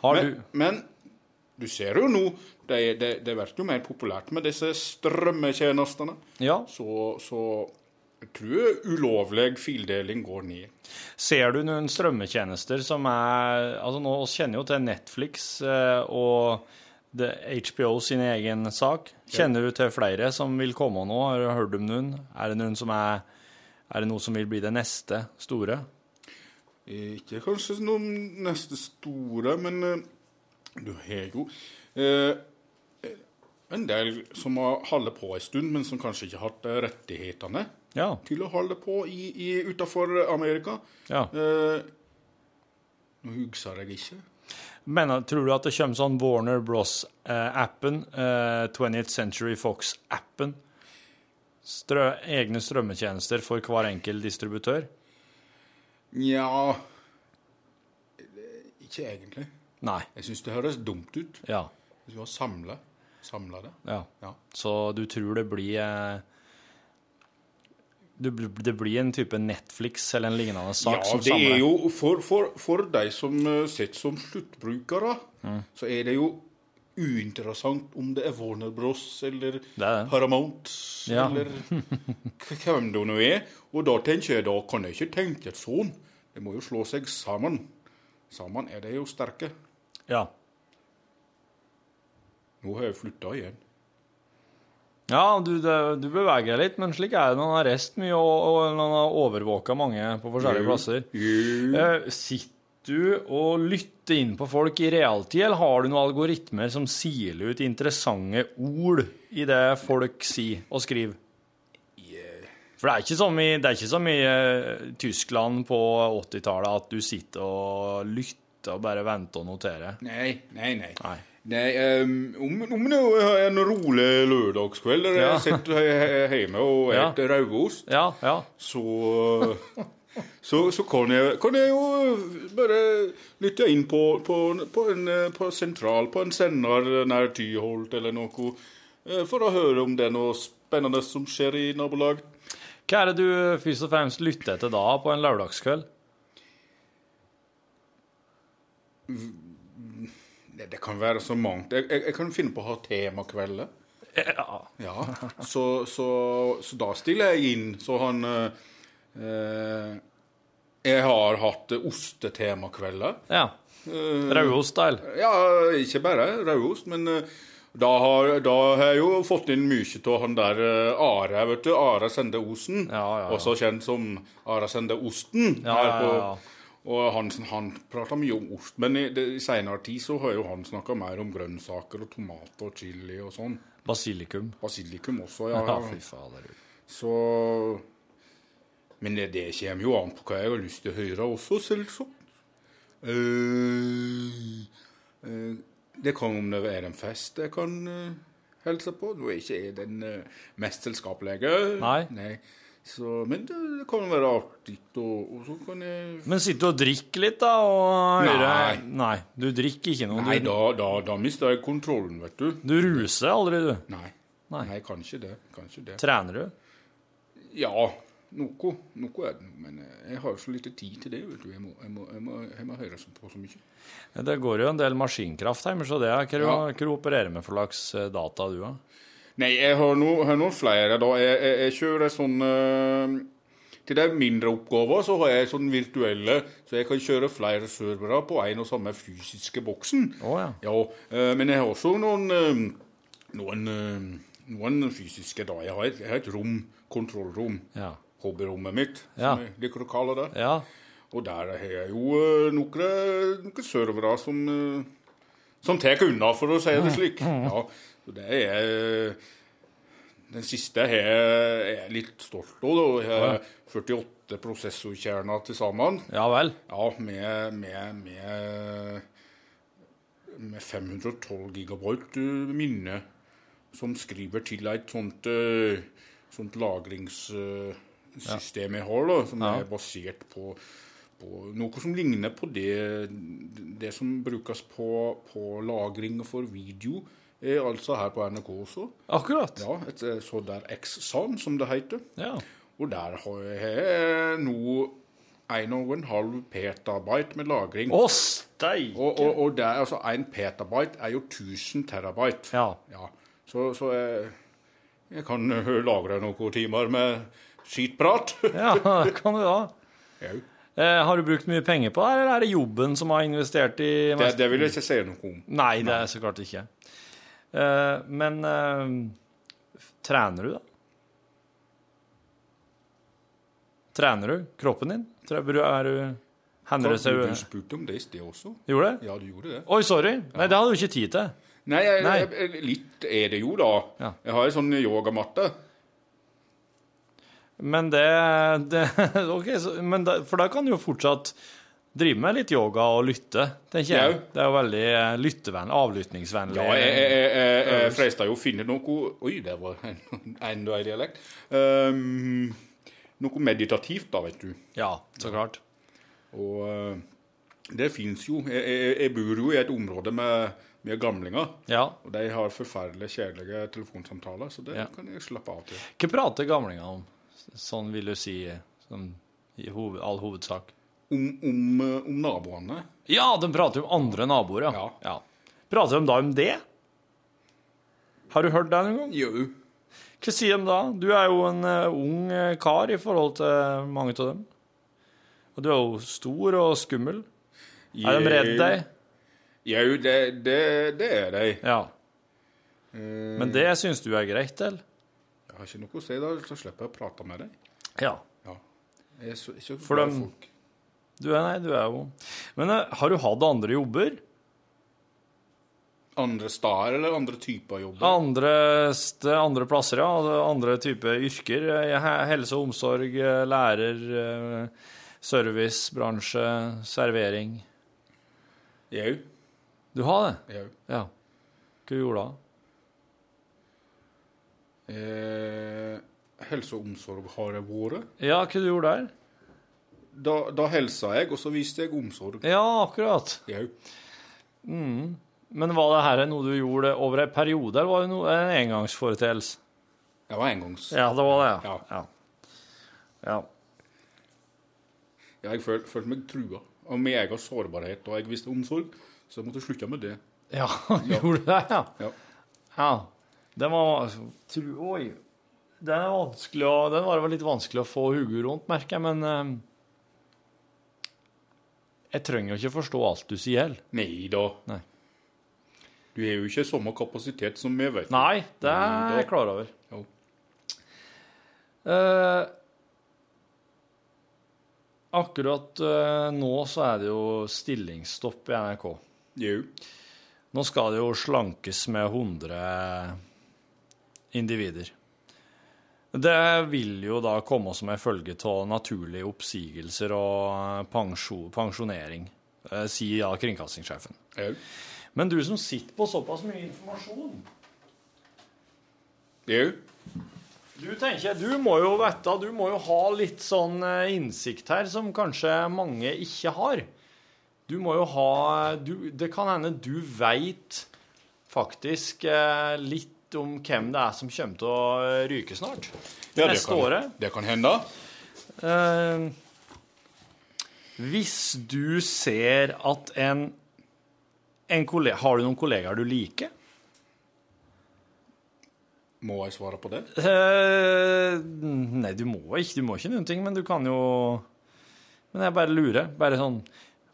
[SPEAKER 7] Har
[SPEAKER 6] Men,
[SPEAKER 7] du
[SPEAKER 6] men du ser jo nå, det, det, det blir jo mer populært med disse strømmetjenestene.
[SPEAKER 7] Ja.
[SPEAKER 6] Så, så jeg tror ulovlig fildeling går ned.
[SPEAKER 7] Ser du noen strømmetjenester som er Altså, nå oss kjenner jo til Netflix eh, og det- HBO sin egen sak. Kjenner du til flere som vil komme nå? Har du hørt om noen? Er det noen som er Er det noe som vil bli det neste store?
[SPEAKER 6] Ikke kanskje noen neste store, men eh, du har jo eh, en del som har holdt på en stund, men som kanskje ikke har hatt eh, rettighetene
[SPEAKER 7] Ja.
[SPEAKER 6] til å holde på i, i, utenfor Amerika.
[SPEAKER 7] ja.
[SPEAKER 6] Eh, nå husker jeg ikke.
[SPEAKER 7] Mener, tror du at det kommer sånn Warner Bros.-appen, eh, 20th Century Fox-appen? Strø, egne strømmetjenester for hver enkelt distributør?
[SPEAKER 6] Nja eh, Ikke egentlig.
[SPEAKER 7] Nei.
[SPEAKER 6] Jeg syns det høres dumt ut.
[SPEAKER 7] Ja.
[SPEAKER 6] Hvis vi har samla samla det.
[SPEAKER 7] ja.
[SPEAKER 6] Ja.
[SPEAKER 7] Så du tror det blir eh, du, bl- Det blir en type Netflix eller en lignende sak
[SPEAKER 6] Ja,
[SPEAKER 7] som
[SPEAKER 6] det
[SPEAKER 7] samler
[SPEAKER 6] er jo for, for, for de som eh, sitter som sluttbrukere, så er det jo uinteressant om det er Warner Bros. eller
[SPEAKER 7] er det.
[SPEAKER 6] Paramount
[SPEAKER 7] Ja.
[SPEAKER 6] eller k- hvem det nå er. Og da tenker jeg da kan jeg ikke tenke sånn. Det må jo slå seg sammen. Sammen er de jo sterke.
[SPEAKER 7] Ja.
[SPEAKER 6] Nå har jeg flytta igjen.
[SPEAKER 7] ja, du, det, du beveger deg litt, men slik er det når han har reist mye og, og når han har overvåka mange på forskjellige plasser. Eh, Sitter du og lytter inn på folk i realtid, eller har du noen algoritmer som siler ut interessante ord i det folk sier og skriver? For det er ikke som i, det er ikke som i eh, Tyskland på 80-tallet at du sitter og lytter og bare venter og noterer.
[SPEAKER 6] Nei, nei, nei.
[SPEAKER 7] Nei.
[SPEAKER 6] Nei, ehm, om, om nå har jeg en rolig lørdagskveld der
[SPEAKER 7] Ja.
[SPEAKER 6] jeg sitter he- he- hjemme og
[SPEAKER 7] Ja.
[SPEAKER 6] spiser rødost,
[SPEAKER 7] Ja, ja.
[SPEAKER 6] så, så, så kan, jeg, kan jeg jo bare lytte inn på, på, på, en, eh, på sentral, på en sender nær Tyholt eller noe, eh, for å høre om det er noe spennende som skjer i nabolag.
[SPEAKER 7] Hva er det du først og fremst lytter etter da på en lørdagskveld?
[SPEAKER 6] Det, det kan være så mangt. Jeg, jeg, jeg kan finne på å ha temakvelder.
[SPEAKER 7] Ja.
[SPEAKER 6] Ja, så, så, så da stiller jeg inn. Så han eh, eh, Jeg har hatt ostetemakvelder.
[SPEAKER 7] ja.
[SPEAKER 6] Eh,
[SPEAKER 7] Rauost-style.
[SPEAKER 6] ja, ikke bare rødost, men eh, Da har, da har jeg jo fått inn mye av han der eh, Are, vet du. Are Sende Osen.
[SPEAKER 7] Ja, ja, ja.
[SPEAKER 6] Også kjent som Are Sende Osten.
[SPEAKER 7] Ja,
[SPEAKER 6] her
[SPEAKER 7] ja,
[SPEAKER 6] på-
[SPEAKER 7] ja.
[SPEAKER 6] Og Hansen han prater mye om ost, men i, det- i seinere tid så har jo han snakka mer om grønnsaker og tomat og chili og sånn.
[SPEAKER 7] Basilikum.
[SPEAKER 6] Basilikum også, ja.
[SPEAKER 7] Ja, fy fader.
[SPEAKER 6] Så Men det, det kommer jo an på hva jeg har lyst til å høre også, selvsagt. Eh, eh, det kan om det er en fest jeg kan eh, hilse på. Nå er ikke jeg den eh, mest selskapelige.
[SPEAKER 7] Nei.
[SPEAKER 6] Så, men det, det kan være artig, og, og så kan jeg
[SPEAKER 7] Men sitter du og drikker litt, da? Og hører
[SPEAKER 6] Nei.
[SPEAKER 7] Nei, du drikker ikke noe.
[SPEAKER 6] Nei,
[SPEAKER 7] du,
[SPEAKER 6] da, da, da mister jeg kontrollen, vet du.
[SPEAKER 7] du ruser aldri, du.
[SPEAKER 6] Nei.
[SPEAKER 7] Nei.
[SPEAKER 6] Nei, kanskje det. Kanskje det.
[SPEAKER 7] Trener du?
[SPEAKER 6] Ja, noe, noe er det nå, men eh, jeg har jo så lite tid til det, vet du. Jeg må, jeg må, jeg må, jeg må høre så på så mye.
[SPEAKER 7] Det går jo en del maskinkraft hjemme, så det er hva du,
[SPEAKER 6] Ja.
[SPEAKER 7] hva du opererer med for slags eh, data, du, da?
[SPEAKER 6] Nei, jeg har nå, har nå flere, da. Jeg, jeg, jeg kjører sånn eh, Til de mindre oppgaver så har jeg sånn virtuelle, så jeg kan kjøre flere servere på én og samme fysiske boksen.
[SPEAKER 7] Å, ja.
[SPEAKER 6] eh, men jeg har også noen eh, noen, eh, noen fysiske, da. Jeg har et, jeg har et rom, kontrollrom.
[SPEAKER 7] Ja.
[SPEAKER 6] Hobbyrommet mitt,
[SPEAKER 7] Ja.
[SPEAKER 6] som jeg liker å kalle det.
[SPEAKER 7] Ja.
[SPEAKER 6] Og der har jeg jo eh, noen, noen servere som, eh, som tar unna, for å si det slik. Ja, så det er eh, Den siste er jeg er litt stolt av. da. Jeg har 48 prosessorkjerner til sammen.
[SPEAKER 7] ja vel.
[SPEAKER 6] Ja, med, med, med, med 512 gigabyte eh, minne som skriver til et sånt, eh, sånt lagringssystem jeg har, da, som er basert på, på noe som ligner på det, det som brukes på, på lagring for video, er altså her på NRK også.
[SPEAKER 7] Akkurat.
[SPEAKER 6] Ja, et eh, sånt der X-SAM, som det heter.
[SPEAKER 7] Ja.
[SPEAKER 6] Og der har jeg nå en og en halv petabyte med lagring.
[SPEAKER 7] Å, steik!
[SPEAKER 6] Og, og, og det er altså en petabyte er jo 1000 terabyte.
[SPEAKER 7] Ja.
[SPEAKER 6] Så, så jeg, jeg kan ø, lagre noen timer med skitprat.
[SPEAKER 7] Ja, det kan du da.
[SPEAKER 6] Jau.
[SPEAKER 7] Eh, har du brukt mye penger på det, eller er det jobben som har investert i
[SPEAKER 6] det, det vil jeg ikke si noe om.
[SPEAKER 7] Nei, det er så klart ikke. Eh, men eh, trener du, da? Trener du kroppen din? Tror jeg- Er du
[SPEAKER 6] Du,
[SPEAKER 7] Hender du seg
[SPEAKER 6] du spurte om det i sted også.
[SPEAKER 7] Gjorde det?
[SPEAKER 6] Ja, du gjorde det.
[SPEAKER 7] Oi, sorry. Nei, det hadde du ikke tid til.
[SPEAKER 6] Nei, jeg,
[SPEAKER 7] Nei.
[SPEAKER 6] Jeg, jeg, litt er det jo, da.
[SPEAKER 7] Ja.
[SPEAKER 6] Jeg har ei sånn yogamatte.
[SPEAKER 7] Men det, det OK, så, men da- for da kan du jo fortsatt drive med litt yoga og lytte, tenker jeg.
[SPEAKER 6] Jau.
[SPEAKER 7] Det er jo veldig eh, lyttevennlig, avlyttingsvennlig.
[SPEAKER 6] Ja, jeg, jeg, jeg, jeg, jeg freista jo å finne noe Oi, der var en- enda en dialekt. Um, noe meditativt, da, vet du.
[SPEAKER 7] Ja, så klart.
[SPEAKER 6] Og eh, det fins jo. Jeg, jeg, jeg bor jo i et område med, med gamlinger.
[SPEAKER 7] Ja.
[SPEAKER 6] Og de har forferdelig kjedelige telefonsamtaler, så det
[SPEAKER 7] Ja.
[SPEAKER 6] kan jeg slappe av til.
[SPEAKER 7] Hva prater gamlingene om? Sånn vil du si sånn, i hoved, all hovedsak.
[SPEAKER 6] Om, om, eh, om naboene.
[SPEAKER 7] Ja, de prater jo om andre naboer, ja.
[SPEAKER 6] Ja.
[SPEAKER 7] Prater de da om det? Har du hørt det noen gang?
[SPEAKER 6] Jo.
[SPEAKER 7] Hva sier de da? Du er jo en eh, ung eh, kar i forhold til mange av dem. Og du er jo stor og skummel. Er de redd deg?
[SPEAKER 6] Jo, det, det, det er de.
[SPEAKER 7] Ja. Men det syns du er greit, eller?
[SPEAKER 6] Jeg har ikke noe å si, da, så slipper jeg å prate med dem.
[SPEAKER 7] Ja.
[SPEAKER 6] Jeg er så, ikke så
[SPEAKER 7] For
[SPEAKER 6] glad i
[SPEAKER 7] dem-
[SPEAKER 6] folk.
[SPEAKER 7] Du er, nei, du er jo Men eh, har du hatt andre jobber?
[SPEAKER 6] Andre steder eller andre typer jobber?
[SPEAKER 7] Andre, st- andre plasser, ja. Altså, Andre type yrker. Eh, he- Helse og omsorg, eh, lærer, eh, servicebransje, servering.
[SPEAKER 6] Jo.
[SPEAKER 7] Du har det?
[SPEAKER 6] jo.
[SPEAKER 7] Ja. Hva gjorde du da?
[SPEAKER 6] Eh, helse og omsorg har jeg vært.
[SPEAKER 7] Ja, hva du gjorde der?
[SPEAKER 6] Da, da helsa jeg, og så viste jeg omsorg.
[SPEAKER 7] Ja, akkurat.
[SPEAKER 6] Jau.
[SPEAKER 7] Men var det her noe du gjorde over en periode, eller var det noe, en engangsforeteelse?
[SPEAKER 6] Det var engangs.
[SPEAKER 7] Ja, det var det, ja.
[SPEAKER 6] Ja.
[SPEAKER 7] Ja. ja.
[SPEAKER 6] Jeg føl, følte meg trua av min egen sårbarhet, og jeg visste omsorg, så jeg måtte slutte med det.
[SPEAKER 7] Ja, gjorde du det, ja?
[SPEAKER 6] Ja.
[SPEAKER 7] Ja. Den var tru- Oi. Den er vanskelig å Den var det vel litt vanskelig å få hodet rundt, merker jeg, men eh, Jeg trenger jo ikke forstå alt du sier. heller.
[SPEAKER 6] Nei da.
[SPEAKER 7] Nei.
[SPEAKER 6] Du har jo ikke samme kapasitet som vi, vet du.
[SPEAKER 7] Nei, det er jeg klar over.
[SPEAKER 6] Mm, Jo.
[SPEAKER 7] Eh, akkurat eh, nå så er det jo stillingsstopp i NRK.
[SPEAKER 6] Jo.
[SPEAKER 7] Nå skal det jo slankes med 100 individer. Det vil jo da komme som en følge av naturlige oppsigelser og eh, pensjo- pensjonering, eh, sier ja, kringkastingssjefen.
[SPEAKER 6] jo.
[SPEAKER 7] Men du som sitter på såpass mye informasjon
[SPEAKER 6] Jo.
[SPEAKER 7] Du tenker, du må jo vette, du må jo ha litt sånn eh, innsikt her som kanskje mange ikke har. Du må jo ha du, Det kan hende du veit faktisk eh, litt om hvem det er som kommer til å eh, ryke snart.
[SPEAKER 6] Ja,
[SPEAKER 7] Neste
[SPEAKER 6] kan,
[SPEAKER 7] året.
[SPEAKER 6] Det kan hende.
[SPEAKER 7] Eh, hvis du ser at en, en kollega, Har du noen kollegaer du liker?
[SPEAKER 6] Må jeg svare på det?
[SPEAKER 7] Eh, nei, du må ikke, du må ikke noen ting, men du kan jo Men jeg bare lurer. Bare sånn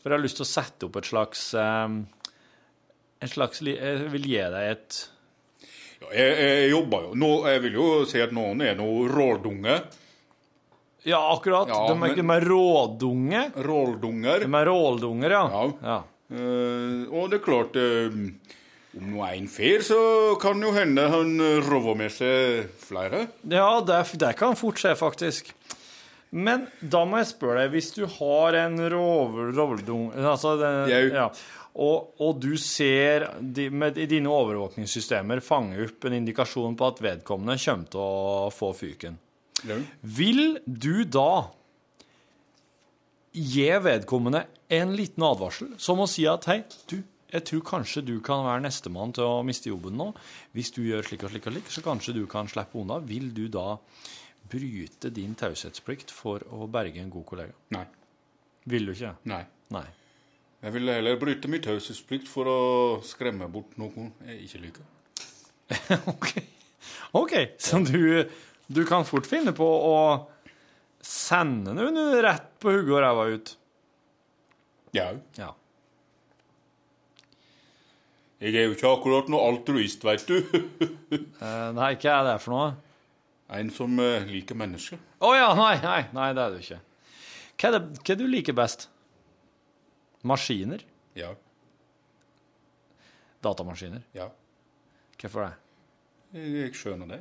[SPEAKER 7] For jeg har lyst til å sette opp et slags eh, En slags li- eh, Jeg vil gi deg et
[SPEAKER 6] Ja, jeg, jeg, jeg jobber jo. Nå, jeg vil jo si at noen er noe rådunge.
[SPEAKER 7] Ja, akkurat.
[SPEAKER 6] Ja,
[SPEAKER 7] de, er,
[SPEAKER 6] men-
[SPEAKER 7] de er rådunge.
[SPEAKER 6] Råldunger.
[SPEAKER 7] De er råldunger, ja.
[SPEAKER 6] Ja. Eh, og det er klart eh, Om nå er en fer, så kan jo hende han eh, rover med seg flere.
[SPEAKER 7] Ja, det, det kan fort skje, faktisk. Men da må jeg spørre deg, hvis du har en rovel- roveldung altså den-
[SPEAKER 6] Jau.
[SPEAKER 7] ja, og, og du ser de, med i dine overvåkningssystemer fange opp en indikasjon på at vedkommende kommer til å få fyken.
[SPEAKER 6] Ja.
[SPEAKER 7] Vil du da gi vedkommende en liten advarsel, som å si at hei, du, jeg tror kanskje du kan være nestemann til å miste jobben nå. Hvis du gjør slik og slik og slik, så kanskje du kan slippe unna. Vil du da bryte din taushetsplikt for å berge en god kollega?
[SPEAKER 6] Nei.
[SPEAKER 7] Vil du ikke?
[SPEAKER 6] Nei.
[SPEAKER 7] Nei.
[SPEAKER 6] Jeg vil heller bryte min taushetsplikt for å skremme bort noen jeg ikke liker.
[SPEAKER 7] OK. Ok, Så du, du kan fort finne på å sende noen rett på hugget og ræva ut?
[SPEAKER 6] Ja.
[SPEAKER 7] Ja.
[SPEAKER 6] Jeg er jo ikke akkurat noe altruist, veit du.
[SPEAKER 7] Eh, Nei, hva er det for noe?
[SPEAKER 6] en som eh, liker mennesker.
[SPEAKER 7] Å ja, nei, nei, nei, det er du ikke. Hva er det hva er det du liker best? Maskiner?
[SPEAKER 6] Ja.
[SPEAKER 7] Datamaskiner?
[SPEAKER 6] Ja.
[SPEAKER 7] Hvorfor det?
[SPEAKER 6] Jeg, jeg skjønner det.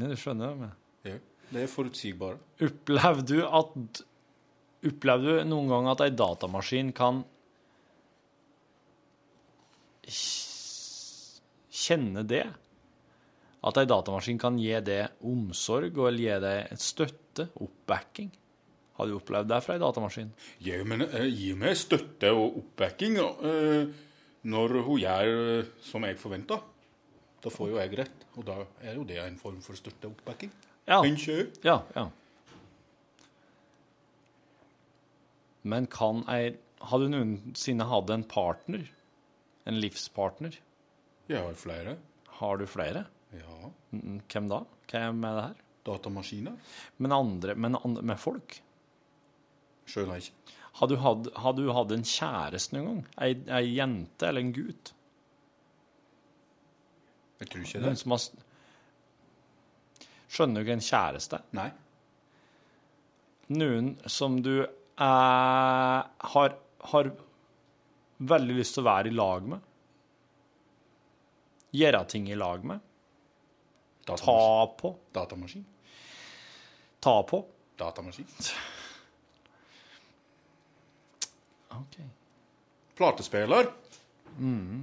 [SPEAKER 7] Nei, du skjønner jo, men
[SPEAKER 6] Ja. Det er forutsigbare.
[SPEAKER 7] Opplevde du at Opplevde du noen gang at ei datamaskin kan kj- Kjenne det? At ei datamaskin kan gi det omsorg og gi det et støtte? Oppbacking? Har du opplevd det fra ei datamaskin?
[SPEAKER 6] Ja, men eh, gi meg støtte og oppbacking eh, når hun gjør eh, som jeg forventer. Da får jo jeg rett, og da er jo det en form for støtte og oppbacking.
[SPEAKER 7] Ja.
[SPEAKER 6] Unnskyld?
[SPEAKER 7] Ja, ja. Men kan ei Har du noensinne hatt en partner? En livspartner?
[SPEAKER 6] Jeg har flere.
[SPEAKER 7] Har du flere?
[SPEAKER 6] Ja.
[SPEAKER 7] Mm, Hvem da? Hvem er det her?
[SPEAKER 6] Datamaskiner?
[SPEAKER 7] Men andre Men andre, med folk?
[SPEAKER 6] Skjønner jeg ikke.
[SPEAKER 7] Har du hatt, har du hatt en kjæreste noen gang? Ei, ei jente eller en gutt?
[SPEAKER 6] Jeg tror ikke det.
[SPEAKER 7] Noen som har s- Skjønner du ikke en kjæreste?
[SPEAKER 6] Nei.
[SPEAKER 7] Noen som du eh, har, har veldig lyst til å være i lag med. Gjøre ting i lag med. Ta
[SPEAKER 6] Datamaskin.
[SPEAKER 7] på.
[SPEAKER 6] Datamaskin.
[SPEAKER 7] Ta på.
[SPEAKER 6] Datamaskin.
[SPEAKER 7] Ok.
[SPEAKER 6] Platespiller?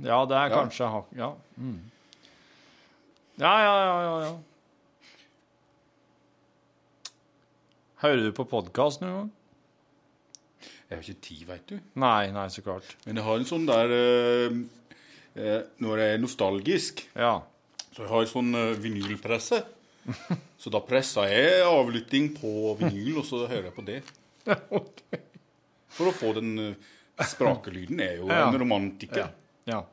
[SPEAKER 7] Ja, det er
[SPEAKER 6] Ja.
[SPEAKER 7] kanskje hak- ja. Mm. ja, ja, ja, ja, ja. Hører du på podkast noen gang?
[SPEAKER 6] Jeg har ikke tid, veit du.
[SPEAKER 7] Nei, nei, så klart.
[SPEAKER 6] Men jeg har en sånn der eh, eh, Når jeg er nostalgisk,
[SPEAKER 7] Ja.
[SPEAKER 6] Så jeg har sånn eh, vinylpresse. Så da presser jeg avlytting på vinyl, og så hører jeg på det. For å få den eh, sprakelyden er jo
[SPEAKER 7] Ja.
[SPEAKER 6] en romantiker.
[SPEAKER 7] Ja.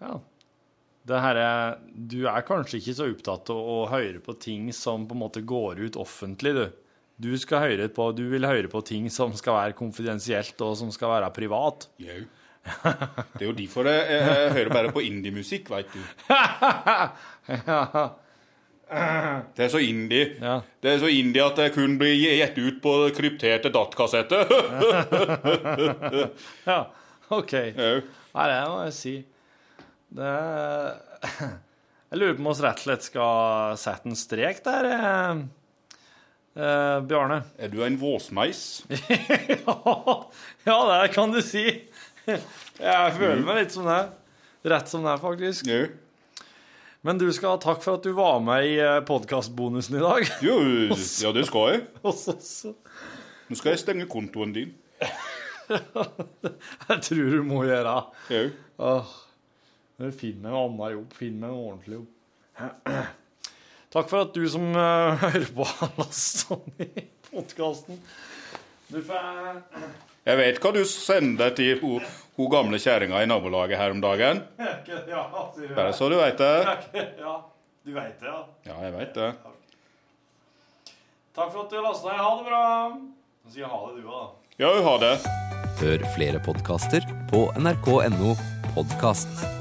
[SPEAKER 7] ja. Det her er, du er kanskje ikke så opptatt av å høre på ting som på en måte går ut offentlig, du. Du, skal høre på, du vil høre på ting som skal være konfidensielt og som skal være privat.
[SPEAKER 6] Jau. Det er jo derfor jeg, jeg, jeg hører bare på indiemusikk, veit du. Det er så indie.
[SPEAKER 7] Ja.
[SPEAKER 6] Det er så indie at jeg kun blir gjett ut på krypterte datkassetter.
[SPEAKER 7] Ja, OK.
[SPEAKER 6] Au.
[SPEAKER 7] Nei, det må jeg si. Det er- Jeg lurer på om vi rett og slett skal sette en strek der, eh, eh, Bjarne.
[SPEAKER 6] er du en våsmeis?
[SPEAKER 7] ja, det kan du si. Jeg føler meg litt som det. Rett som det er, faktisk.
[SPEAKER 6] Jau.
[SPEAKER 7] Men du skal ha takk for at du var med i eh, podkastbonusen i dag.
[SPEAKER 6] Jo, ja, det skal jeg.
[SPEAKER 7] Og så- så-
[SPEAKER 6] Nå skal jeg stenge kontoen din.
[SPEAKER 7] Jeg tror du må gjøre
[SPEAKER 6] Jau.
[SPEAKER 7] Åh, men Finn meg en annen jobb. Finn meg en ordentlig jobb. Takk for at du som eh, hører på har lasta ned podkasten. Du får eh,
[SPEAKER 6] Jeg vet hva du sender til ho, ho gamle kjerringa i nabolaget her om dagen.
[SPEAKER 7] Ja, sier
[SPEAKER 6] Bare så du veit det.
[SPEAKER 7] du. Ja, du veit det, ja.
[SPEAKER 6] Ja, jeg veit det.
[SPEAKER 7] Takk for at du har lasta ned. Ha det bra. Nå sier jeg ha det, du òg, da.
[SPEAKER 6] Ja, ha det.
[SPEAKER 8] Hør flere podkaster på nrk.no podkast.